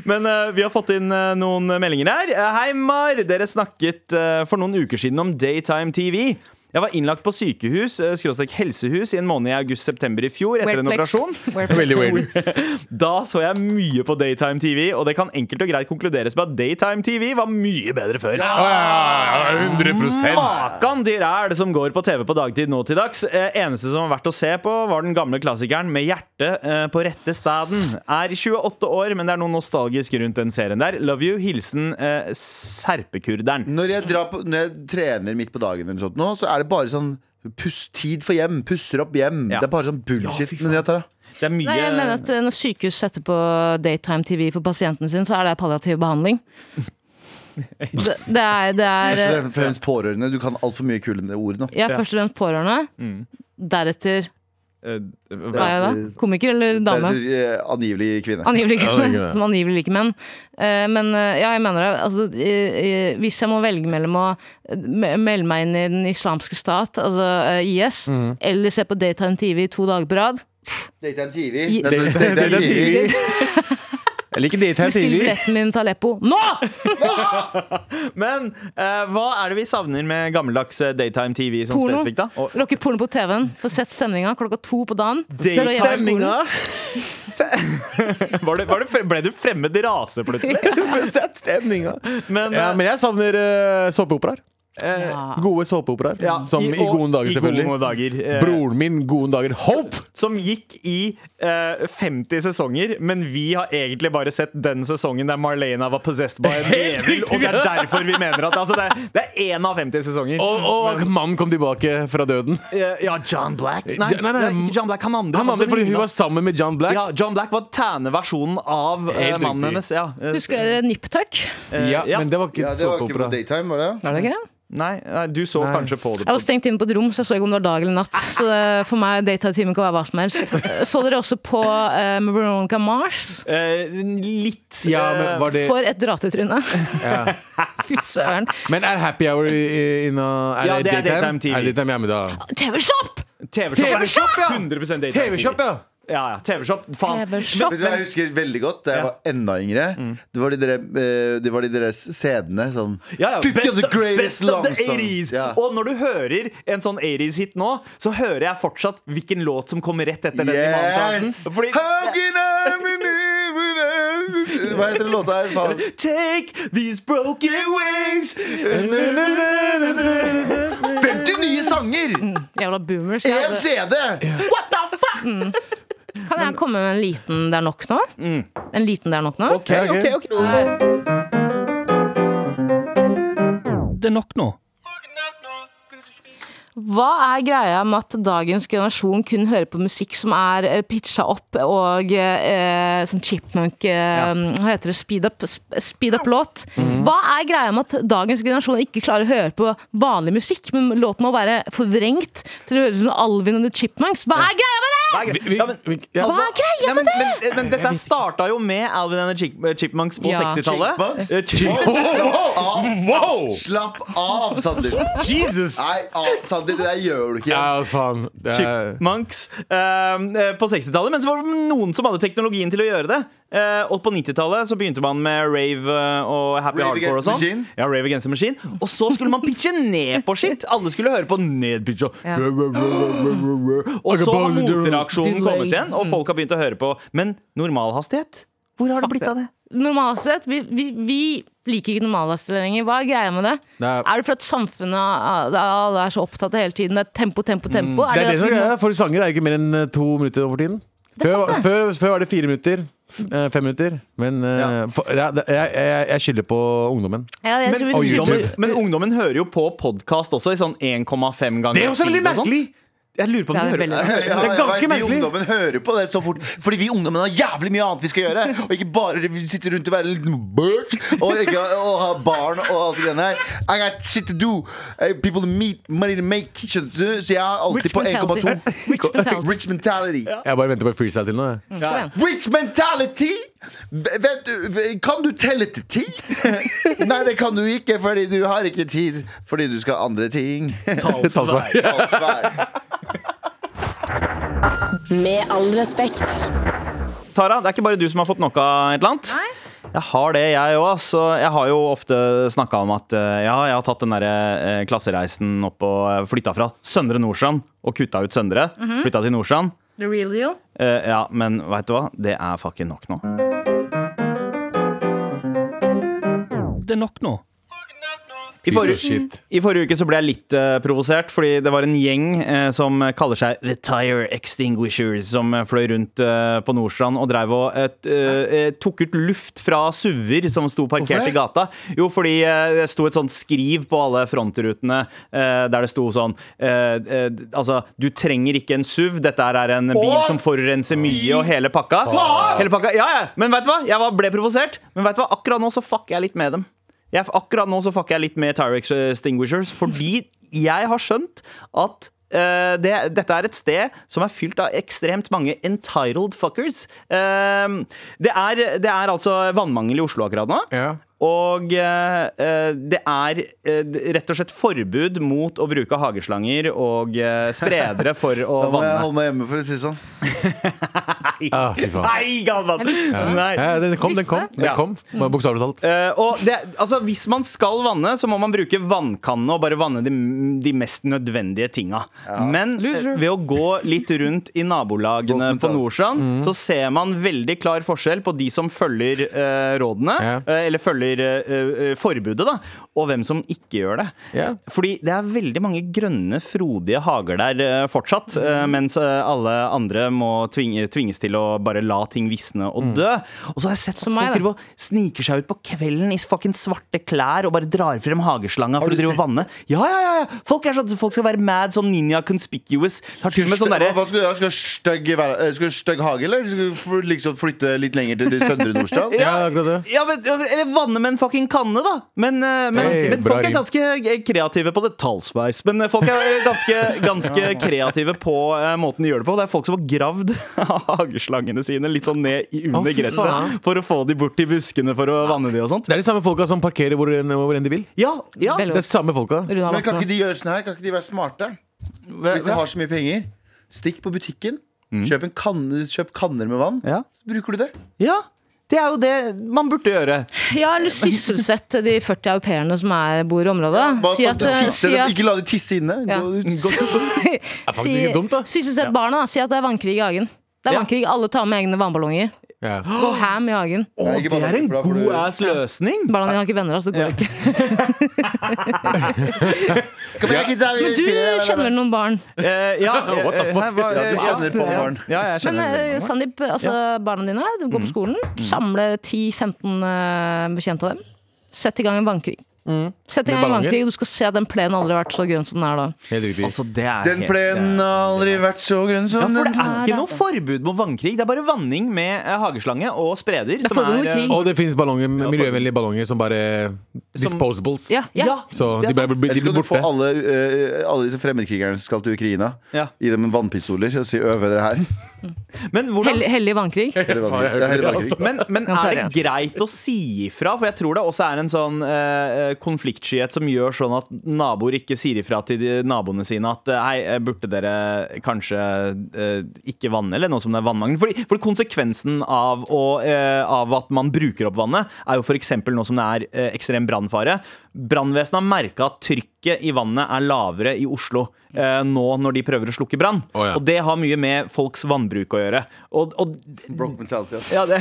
Speaker 2: Men eh, vi har fått inn eh, noen meldinger her. Eh, Hei, Mar. Dere snakket eh, for noen uker siden om daytime TV. Jeg var innlagt på sykehus, eh, skråstrek helsehus, i en måned i august-september i fjor etter
Speaker 5: Weird
Speaker 2: en
Speaker 5: flex.
Speaker 2: operasjon.
Speaker 5: Weird flex.
Speaker 3: [LAUGHS] Veldig weird.
Speaker 2: Da så jeg mye på daytime TV, og det kan enkelt og greit konkluderes med at daytime TV var mye bedre før.
Speaker 3: Ja, 100
Speaker 2: Makan til ræl som går på TV på dagtid nå til dags. Eh, eneste som var verdt å se på, var den gamle klassikeren med hjertet eh, på rette staden. Er 28 år, men det er noe nostalgisk rundt den serien der. Love you. Hilsen eh, Serpekurderen.
Speaker 4: Når jeg, drar på, når jeg trener midt på dagen, eller noe sånt nå, så er det bare sånn puss, tid for hjem. Pusser opp hjem.
Speaker 2: Ja.
Speaker 4: Det er bare sånn
Speaker 2: Ja,
Speaker 4: bullshit.
Speaker 2: fy faen.
Speaker 4: men jeg tar det.
Speaker 2: Det er mye
Speaker 5: Nei, jeg mener at eh, Når sykehus setter på daytime TV for pasientene sine, så er det palliativ behandling. [LAUGHS] Det, det er, det er eh,
Speaker 4: Først og fremst pårørende. Du kan altfor mye kule ord nå.
Speaker 5: Jeg er først og fremst pårørende. Deretter
Speaker 2: Eh,
Speaker 5: hva er jeg da? Komiker eller dame?
Speaker 4: altså- Det er, eh, Angivelig kvinne.
Speaker 3: Ja,
Speaker 5: Angivelig
Speaker 3: det er
Speaker 5: [LAUGHS]
Speaker 3: ikke
Speaker 5: ikke,
Speaker 3: det.
Speaker 5: som angivelig liker menn. Eh, Men eh, ja, jeg mener det. Altså, eh, eh, hvis jeg må velge mellom å eh, me- melde meg inn i Den islamske stat, altså eh, IS,
Speaker 3: Mhm.
Speaker 5: eller se på daytime TV i to dager på rad
Speaker 4: Daytime TV.
Speaker 5: I-
Speaker 4: Nei, så-
Speaker 3: Daytime
Speaker 4: Daytime TV.
Speaker 3: Jeg liker daytime
Speaker 5: Bestill
Speaker 3: TV.
Speaker 5: billetten min til Aleppo nå!
Speaker 2: Men eh, hva er det vi savner med gammeldags eh, daytime TV sånn
Speaker 5: Porno.
Speaker 2: spesifikt, da? Og-
Speaker 5: Rocker porno på TV-en. Få sett stemninga klokka to på dagen.
Speaker 2: Daytime-
Speaker 5: Står og gjør skolen.
Speaker 2: [LAUGHS] Var det, var det, fre- ble du fremmed rase plutselig?
Speaker 5: [LAUGHS]
Speaker 3: Sett stemninga.
Speaker 2: Men,
Speaker 3: Ja,
Speaker 2: eh,
Speaker 3: men jeg savner eh, såpeoperaer.
Speaker 5: Ja.
Speaker 3: Gode såpeoperaer. Som I
Speaker 2: og-
Speaker 3: gode dager,
Speaker 2: i
Speaker 3: selvfølgelig.
Speaker 2: Gode dager, eh,
Speaker 3: Broren min, gode dager. Hope!
Speaker 2: Som gikk i eh, 50 sesonger, men vi har egentlig bare sett den sesongen der Marlena var possessed by
Speaker 3: [LAUGHS]
Speaker 2: en djevel, og det er derfor vi mener at altså, det, er- det er én av 50 sesonger.
Speaker 3: Og, og mannen kom tilbake fra døden.
Speaker 2: Eh, ja, John Black. Nei,
Speaker 3: Ja, nei, nei,
Speaker 2: ikke John Black, han andre.
Speaker 3: Han andre,
Speaker 2: som
Speaker 3: fordi hun
Speaker 2: lignet.
Speaker 3: var sammen med John Black.
Speaker 2: ja, John Black var tæneversjonen av eh,
Speaker 3: Helt
Speaker 2: mannen
Speaker 3: riktig.
Speaker 2: hennes. Ja. Eh,
Speaker 5: Husker dere Niptuck?
Speaker 3: Ja,
Speaker 2: ja.
Speaker 3: men det var
Speaker 4: Ja,
Speaker 3: ikke
Speaker 4: det var ikke på
Speaker 3: såpeopera.
Speaker 4: daytime, var det?
Speaker 5: Var det ikke det?
Speaker 2: Nei, nei, du så kanskje på det.
Speaker 5: Jeg var stengt inne på et rom, så jeg så ikke om det var dag eller natt. Så det- for meg daytime-time kan være hva som helst. Så dere også på eh, med Veronica Mars?
Speaker 2: Eh, litt.
Speaker 3: Ja,
Speaker 2: eh,
Speaker 3: men var det
Speaker 5: For et ratetryne! [LAUGHS] Fy søren.
Speaker 3: Men er happy hour i- i- inna Er
Speaker 2: Ja, det er daytime
Speaker 3: daytime?
Speaker 2: TV.
Speaker 3: Er det daytime hjemme da?
Speaker 5: TV-shop!
Speaker 2: TV-shop.
Speaker 3: TV-shop, ja!
Speaker 2: 100% daytime
Speaker 3: TV-shop, ja!
Speaker 2: Ja, ja, TV-shop. Faen.
Speaker 5: TV-shop.
Speaker 4: Vet du hva jeg husker veldig godt da jeg
Speaker 2: Ja. Mm.
Speaker 4: var enda yngre? Det var de der, eh, det var de der sedene sånn
Speaker 2: Ja, ja,
Speaker 4: 50 of the
Speaker 2: best
Speaker 4: greatest
Speaker 2: of
Speaker 4: long
Speaker 2: the 80s.
Speaker 4: songs. Ja.
Speaker 2: Og når du hører en sånn 80s-hit nå, så hører jeg fortsatt hvilken låt som kommer rett etter den. i manukassen.
Speaker 4: Yes!
Speaker 2: Fordi
Speaker 4: How can I believe- Hva heter den låta her? Faen.
Speaker 2: Take these broken wings
Speaker 4: 50 nye sanger!
Speaker 5: Jævla boomers. Mm. Ja,
Speaker 4: Én
Speaker 5: det-
Speaker 4: CD! What the fuck?!
Speaker 5: Kan jeg komme med en liten 'det er nok' nå?
Speaker 2: Mm.
Speaker 5: En liten 'det er nok' nå?
Speaker 2: Ok, ok, ok
Speaker 8: Det er nok nå.
Speaker 5: Hva er greia med at dagens generasjon kun hører på musikk som er eh, pitcha opp og eh, sånn chipmunk eh, Hva heter det? Speed up, sp- speed up låt.
Speaker 3: Mhm.
Speaker 5: Hva er greia med at dagens generasjon ikke klarer å høre på vanlig musikk, men låten må være forvrengt til å høres ut som Alvin and the Chipmunks? Hva er greia med det?!
Speaker 2: Hva er
Speaker 3: Vi- vi-
Speaker 2: greia? Ja, men-
Speaker 3: vi- ja.
Speaker 2: altså-
Speaker 5: Hva er greia
Speaker 2: Nei, men, men, men dette starta jo med Alvin and the Chip- Chipmunks på
Speaker 5: Ja.
Speaker 2: 60-tallet.
Speaker 4: Chipmunks?
Speaker 2: Eh,
Speaker 4: Slapp av!
Speaker 3: Wow!
Speaker 4: Slapp av, Sander.
Speaker 3: Jesus!
Speaker 4: Nei, av, Sander, det der gjør du ikke.
Speaker 3: Ja, altså, faen. Det er
Speaker 2: Chipmunks ehm, eh, på 60-tallet, men så var det noen som hadde teknologien til å gjøre det. Eh, og på 90-tallet så begynte man med rave eh, og happy
Speaker 4: Rave
Speaker 2: hardcore og
Speaker 4: Against the
Speaker 2: sånn.
Speaker 4: Machine.
Speaker 2: Ja, rave against the machine. Og så skulle man pitche ned på shit! Alle skulle høre på nedpitcha.
Speaker 5: Ja.
Speaker 2: Og så har motreaksjonen kommet igjen, og folk har begynt å høre på. Men normalhastighet? Hvor har det blitt av det?
Speaker 5: Normalhastighet? Vi, vi, vi liker ikke normalhastighet lenger. Hva er greia med det?
Speaker 3: Nei.
Speaker 5: Er det for at samfunnet ah, alle er så opptatt av hele tiden? Det er tempo, tempo, tempo?
Speaker 3: Mm. det, er
Speaker 5: at
Speaker 3: det som
Speaker 5: vi
Speaker 3: er
Speaker 5: må-
Speaker 3: greia, for sanger er jo ikke mer enn eh, to minutter over tiden. Før, før, før var det fire minutter. f- eh, Fem minutter. Men eh, for, ja, det- jeg, jeg, jeg skylder på ungdommen.
Speaker 5: Ja, jeg tror vi skal
Speaker 3: ungdommen-
Speaker 5: skylde-
Speaker 2: Men ungdommen hører jo på podkast også, i sånn 1,5 ganger speed og sånt. Jeg lurer på om
Speaker 5: Ja,
Speaker 2: de
Speaker 5: det er veldig
Speaker 2: hører
Speaker 4: [LAUGHS]
Speaker 5: rart.
Speaker 2: det.
Speaker 4: Ja,
Speaker 2: er
Speaker 4: jeg
Speaker 2: ganske
Speaker 4: vet, Vi
Speaker 2: merkelig.
Speaker 4: ungdommen hører på det så fort. Fordi vi ungdommen har jævlig mye annet vi skal gjøre. Og ikke bare sitte rundt og være en liten bitch og, ikke, og ha barn og alt det greiene her. I got shit to do. eh, People to meet, money to make. Skjønner du? Så jeg er alltid
Speaker 5: Rich
Speaker 4: på
Speaker 5: mentality.
Speaker 4: 1,2.
Speaker 5: Rich
Speaker 4: [LAUGHS]
Speaker 5: mentality.
Speaker 4: Rich mentality.
Speaker 3: Jeg bare venter på freestyle til nå. jeg.
Speaker 5: Mm, kom igjen.
Speaker 4: Rich mentality! V- Vet du, v- kan du telle til ti? Nei, det kan du ikke, fordi du har ikke tid. Fordi du skal andre ting. [LAUGHS]
Speaker 2: altså-
Speaker 3: Talsvei.
Speaker 4: Talsvær.
Speaker 1: Med all respekt.
Speaker 2: Tara, det er ikke bare du som har fått nok av et eller annet.
Speaker 5: Nei.
Speaker 2: Jeg har det, jeg òg. ass. Og Jeg har jo ofte snakka om at eh, ja, jeg har tatt den der, eh, klassereisen opp og flytta fra Søndre Nordstrand og kutta ut Søndre. Flytta til Nordstrand.
Speaker 5: The real deal.
Speaker 2: Eh, ja, men veit du hva? Det er fucking nok nå.
Speaker 8: Det er nok nå.
Speaker 2: I
Speaker 3: Piece of
Speaker 2: forrige,
Speaker 3: shit.
Speaker 2: I forrige uke så ble jeg litt eh, provosert, fordi det var en gjeng eh, som kaller seg The Tire Extinguishers, som eh, fløy rundt eh, på Nordstrand og drev og eh, t- eh, eh, tok ut luft fra suver som sto parkert i gata. Jo, fordi eh, det sto et sånt skriv på alle frontrutene eh, der det sto sånn eh, eh, Altså, du trenger ikke en SUV, dette her er en bil som forurenser mye, og hele pakka. Hele pakka. Ja, ja. Men veit du hva? Jeg var, ble provosert. Men veit du hva? Akkurat nå så fucker jeg litt med dem. Jeg, akkurat nå så fucker jeg litt med Tire Extinguishers, fordi jeg har skjønt at eh, det, dette er et sted som er fylt av ekstremt mange entitled fuckers. Eh, det, er, det er altså vannmangel i Oslo akkurat nå.
Speaker 3: Ja.
Speaker 2: Og eh, eh, det er eh, d- rett og slett forbud mot å bruke hageslanger og eh, spredere for å
Speaker 4: [LAUGHS] Da må jeg
Speaker 2: vanne.
Speaker 4: holde meg hjemme, for å si det sånn.
Speaker 3: Ah, fy faen.
Speaker 2: Nei, Galvan! Nei.
Speaker 3: Ja, den kom, den kom. Den
Speaker 2: Ja.
Speaker 3: kom. Bare Bokstavelig talt.
Speaker 2: Eh, og det, altså, hvis man skal vanne, så må man bruke vannkanne og bare vanne de, de mest nødvendige tinga. Men eh, ved å gå litt rundt i nabolagene
Speaker 4: Godt
Speaker 2: på
Speaker 4: mentalt.
Speaker 2: Nordstrand,
Speaker 3: Mm.
Speaker 2: så ser man veldig klar forskjell på de som følger eh, rådene,
Speaker 3: Ja.
Speaker 2: eh, eller følger eh, eh, forbudet, da, og hvem som ikke gjør det.
Speaker 3: Ja.
Speaker 2: Fordi det er veldig mange grønne, frodige hager der eh, fortsatt,
Speaker 3: Mm.
Speaker 2: eh, mens eh, alle andre må tvinge, tvinges til å bare la ting visne
Speaker 3: Mm.
Speaker 2: og dø. Og så har jeg sett at
Speaker 5: Som meg,
Speaker 2: folk
Speaker 5: da.
Speaker 2: driver og sniker seg ut på kvelden i fucking svarte klær og bare drar frem hageslanga for å drive og vanne. Ja, ja, ja! ja. Folk, er sånn, folk skal være mad som ninja conspicuous. Tar til og med sånn derre
Speaker 4: Hva skal du gjøre? Skal du stygg være- skal du stygg hage, eller skal du fl- liksom flytte litt lenger til Søndre Nordstrand?
Speaker 3: Ja, akkurat det.
Speaker 2: [LAUGHS] ja, men, Eller vanne med en fucking kanne, da. Men, eh, men,
Speaker 3: Hey,
Speaker 2: men
Speaker 3: bra
Speaker 2: folk er
Speaker 3: rim.
Speaker 2: ganske eh, kreative på det. Talsveis. Men eh, folk er eh, ganske,
Speaker 3: [LAUGHS]
Speaker 2: ganske kreative på eh, måten de gjør det på. Det er folk som har gravd [LAUGHS] hageslangene sine litt sånn ned i
Speaker 3: Å,
Speaker 2: under
Speaker 3: fy
Speaker 2: gresset for å få de bort i buskene for å vanne de og sånt.
Speaker 3: Det er de samme folka som parkerer hvor enn hvor enn de vil.
Speaker 2: Ja, ja.
Speaker 5: Veldig
Speaker 3: Det er samme folka.
Speaker 5: Rune har
Speaker 4: Men kan
Speaker 5: valgt
Speaker 4: ikke de gjøre sånn her? Kan ikke de være smarte? Hvis de har så mye penger, stikk på butikken. Kjøp, en kanne, kjøp kanner med vann,
Speaker 2: Mm. Ja.
Speaker 4: så bruker du det.
Speaker 2: ja. Det er jo det man burde gjøre.
Speaker 5: noe. Ja, eller sysselsett de 40 au pairene som er, bor i området.
Speaker 4: Bare
Speaker 5: Si at,
Speaker 4: ta-
Speaker 5: eh,
Speaker 4: tisse,
Speaker 5: si at
Speaker 4: Ikke la de tisse inne.
Speaker 5: Ja.
Speaker 4: Gå ut.
Speaker 3: faktisk ikke dumt, da.
Speaker 5: Sysselsett barna. da. Si at det er vannkrig i hagen. Det er
Speaker 2: Ja.
Speaker 5: vannkrig, Alle tar med egne vannballonger.
Speaker 3: Ja.
Speaker 5: Gå ham i hagen.
Speaker 2: Å,
Speaker 4: Nei, ikke
Speaker 2: det er en
Speaker 4: bare- for da får
Speaker 2: god
Speaker 4: du-
Speaker 2: ass løsning!
Speaker 5: Barna dine har ikke venner, altså. Det går ikke.
Speaker 4: Kom igjen, kidsa, vi
Speaker 5: Men du
Speaker 4: spiller her, her, her.
Speaker 5: kjenner noen barn.
Speaker 2: Eh, [LAUGHS] ja,
Speaker 3: What the
Speaker 2: eh,
Speaker 3: fuck?
Speaker 2: her var-
Speaker 4: Ja, du
Speaker 2: ja.
Speaker 4: kjenner på barn.
Speaker 2: Ja, jeg
Speaker 5: Men
Speaker 2: kjenner
Speaker 5: eh,
Speaker 2: veldig mange.
Speaker 5: Sandeep, altså barna dine du går på skolen. Samle 10-15 eh, bekjente av dem. Sett i gang en vannkrig. Sett i
Speaker 3: Med
Speaker 5: gang en
Speaker 3: ballonger?
Speaker 5: vannkrig, Du skal se at den plenen aldri har vært så grønn som den er da.
Speaker 3: Helt riktig.
Speaker 2: Altså, det er
Speaker 4: Den
Speaker 2: helt- eh,
Speaker 4: plenen har aldri vært så grønn
Speaker 2: Ja,
Speaker 4: som
Speaker 2: for det
Speaker 4: den.
Speaker 2: er ikke noe forbud mot vannkrig. Det er bare vanning med eh, hageslange og spreder.
Speaker 5: er forbud mot
Speaker 2: eh,
Speaker 5: krig.
Speaker 3: Og det finnes ballonger, miljøvennlige ballonger som bare
Speaker 2: Som-
Speaker 3: Disposables.
Speaker 5: Ja, ja.
Speaker 2: Ja,
Speaker 3: Så
Speaker 2: det
Speaker 3: de
Speaker 2: er
Speaker 3: ble,
Speaker 2: sant.
Speaker 3: de
Speaker 4: Eller
Speaker 3: blir
Speaker 4: skal du få
Speaker 3: borte.
Speaker 4: alle, eh, alle disse fremmedkrigerne som skal til Ukraina,
Speaker 2: Ja.
Speaker 4: gi dem vannpistoler og si 'øve dere her'?
Speaker 2: Men, hvordan,
Speaker 5: Hellig, hellig vannkrig.
Speaker 4: Eller hva det er. Det er hele dagen.
Speaker 2: men, men
Speaker 5: Ja,
Speaker 2: er
Speaker 5: Terje.
Speaker 2: det greit å si ifra? For jeg tror det også er en sånn eh, konfliktskyhet som gjør sånn at naboer ikke sier ifra til de naboene sine at eh, hei, eh, burde dere kanskje eh, ikke vanne, eller noe som det er vannmangel? Fordi, for konsekvensen av, å, eh, av at man bruker opp vannet, er jo f.eks. nå som det er eh, ekstrem brannfare. Brannvesenet har merka at trykket i vannet er lavere i Oslo eh, nå når de prøver å slukke brann.
Speaker 3: Å, ja.
Speaker 2: Og det har mye med folks vannbruk å gjøre. Og, og
Speaker 4: Broke mentality, ass.
Speaker 2: ja, det, [LAUGHS]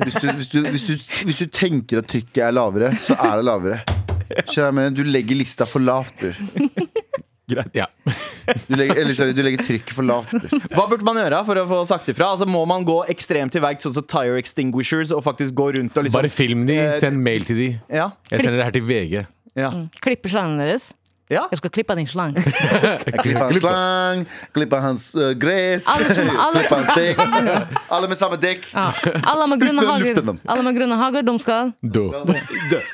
Speaker 4: hvis, du, hvis, du, hvis, du, hvis du tenker at trykket er lavere, så er det lavere. Skjønner jeg hva jeg mener? Du legger lista for lavt, bror.
Speaker 3: Ja.
Speaker 4: Du legger, eller sorry, du legger trykket for lavt.
Speaker 8: Hva burde man gjøre for å få sagt ifra? Altså, må man gå ekstremt til verks, sånn som tire extinguishers, og faktisk gå rundt og liksom
Speaker 3: Bare film de, send mail til de.
Speaker 8: Ja.
Speaker 3: Jeg sender det her til VG.
Speaker 8: ja.
Speaker 5: Klipper slangen deres.
Speaker 8: ja.
Speaker 5: Mm. Jeg skal klippe av din
Speaker 4: [LAUGHS]
Speaker 5: slang.
Speaker 4: Jeg klipper hans slang, klipper hans øh, gress,
Speaker 5: Alle som- alle
Speaker 4: klipper
Speaker 5: som-
Speaker 4: hans dekk. Alle med samme dekk.
Speaker 5: Ja. Alle med grønne
Speaker 4: Uten å [LAUGHS] lufte
Speaker 5: hager,
Speaker 4: dem.
Speaker 5: alle med grønne hager de skal
Speaker 3: Da.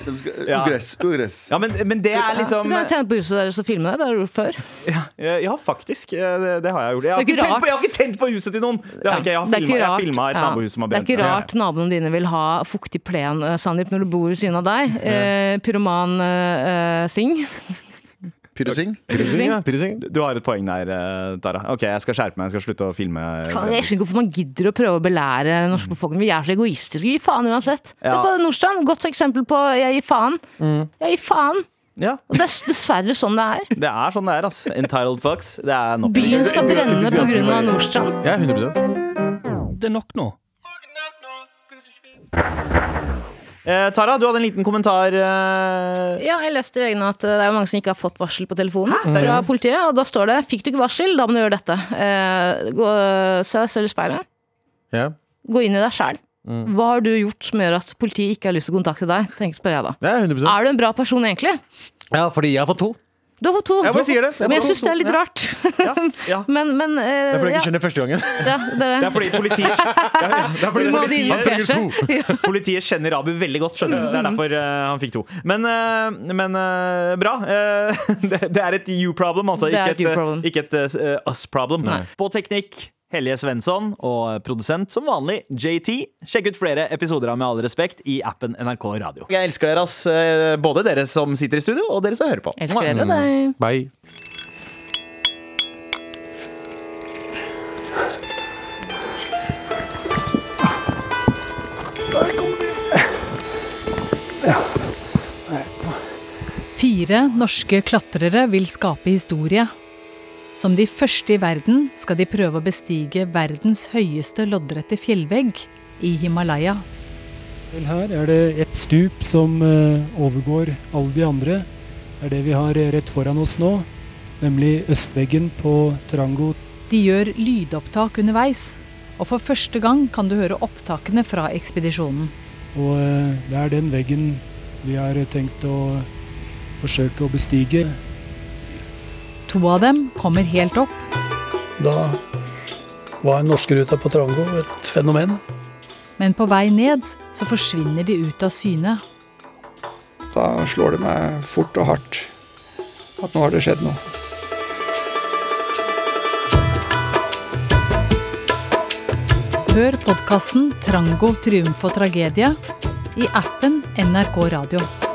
Speaker 4: De skal- Ugress. Ugress.
Speaker 8: ja men, men det er
Speaker 5: Du
Speaker 8: liksom
Speaker 5: kan jo tjene på huset deres og filme det. Det har du gjort før.
Speaker 8: Eh, Ja, faktisk. eh, Det, det har jeg gjort. Jeg har,
Speaker 5: Det er
Speaker 8: ikke
Speaker 5: ikke
Speaker 8: tent,
Speaker 5: rart.
Speaker 8: på, jeg har ikke tent på huset til noen! Det har
Speaker 5: Ja.
Speaker 8: ikke, jeg har
Speaker 5: Det er
Speaker 8: filmet-
Speaker 5: ikke
Speaker 8: jeg har
Speaker 5: rart-
Speaker 2: filmet et
Speaker 5: ja.
Speaker 2: nabohus som har
Speaker 5: Det er
Speaker 2: brent
Speaker 5: ikke
Speaker 2: ned.
Speaker 5: rart naboene dine vil ha fuktig plen, eh, Sandeep, når du bor ved siden av deg. Eh, pyroman eh, Singh.
Speaker 4: Pyrosing?
Speaker 3: Piercing, ja. Piercing.
Speaker 2: Du har et poeng der, eh, Tara. Ok, Jeg skal skjerpe meg. Jeg skal slutte å filme.
Speaker 8: eh,
Speaker 5: Faen, Jeg skjønner ikke hvorfor man gidder å prøve å belære den norske befolkningen. Vi er så egoistiske. Vi gir faen uansett. Se
Speaker 8: Ja.
Speaker 5: på Nordstrand. Godt eksempel på 'jeg gir faen'.
Speaker 2: Mm.
Speaker 5: Jeg gir faen.
Speaker 8: Ja,
Speaker 5: Og det er s- dessverre sånn det er.
Speaker 2: Det er sånn det er, altså. Entitled fucks. Det er nok.
Speaker 5: Byen skal brenne pga. Nordstrand.
Speaker 3: Ja, 100
Speaker 9: Det er nok nå.
Speaker 2: Eh, Tara, du hadde en liten kommentar. eh,
Speaker 5: Ja, jeg leste i vegne at eh, det er jo mange som ikke har fått varsel på telefonen fra
Speaker 2: Seriøst?
Speaker 5: politiet. Og da står det 'fikk du ikke varsel, da må du gjøre dette'. Eh, gå, se deg selv i speilet.
Speaker 3: Ja.
Speaker 5: Gå inn i deg sjæl.
Speaker 3: Mm.
Speaker 5: Hva har du gjort som gjør at politiet ikke har lyst til å kontakte deg? Tenk, spør jeg da.
Speaker 3: Ja, 100
Speaker 5: Er du en bra person, egentlig?
Speaker 3: ja, fordi jeg har fått to.
Speaker 5: Du har fått to.
Speaker 3: Jeg bare sier det. Jeg
Speaker 5: men jeg
Speaker 3: får to.
Speaker 5: syns det er litt rart. [LAUGHS]
Speaker 2: ja.
Speaker 5: men, men eh,
Speaker 3: Det er fordi jeg
Speaker 5: ja,
Speaker 3: ikke skjønner første
Speaker 5: [LAUGHS]
Speaker 3: gangen.
Speaker 5: ja, det
Speaker 2: Det
Speaker 5: er det.
Speaker 2: er fordi politiet, det er fordi
Speaker 5: Du må de
Speaker 2: politiet,
Speaker 5: invitere seg. [LAUGHS]
Speaker 2: politiet kjenner Abu veldig godt, skjønner du. Det
Speaker 5: Mm.
Speaker 2: er derfor eh, han fikk to. Men, eh, men eh, bra. Eh, [LAUGHS] det, det er et you problem, altså.
Speaker 5: Det er
Speaker 2: Ikke
Speaker 5: et
Speaker 2: et,
Speaker 5: you
Speaker 2: eh,
Speaker 5: problem.
Speaker 2: Ikke et eh, us problem. På teknikk Helje Svensson og eh, produsent som vanlig JT. Sjekk ut flere episoder av Med all respekt i appen NRK Radio. Jeg elsker dere, ass. Eh, Både dere som sitter i studio, og dere som hører på.
Speaker 5: Elsker dere deg.
Speaker 3: Bye.
Speaker 10: Fire norske klatrere vil skape historie. Som de første i verden skal de prøve å bestige verdens høyeste loddrette fjellvegg i Himalaya.
Speaker 9: Vel, Her er det et stup som eh, overgår alle de andre. Det er det vi har eh, rett foran oss nå, nemlig østveggen på Trango
Speaker 10: De gjør lydopptak underveis, og for første gang kan du høre opptakene fra ekspedisjonen.
Speaker 9: Og eh, det er den veggen vi har eh, tenkt å forsøke å bestige.
Speaker 10: To av dem kommer helt opp,
Speaker 9: Da var norskeruta på Trango et fenomen.
Speaker 10: men på vei ned så forsvinner de ut av syne.
Speaker 11: Da slår det meg fort og hardt at nå har det skjedd noe.
Speaker 10: Hør podkasten 'Trango, triumf og tragedie' i appen NRK Radio.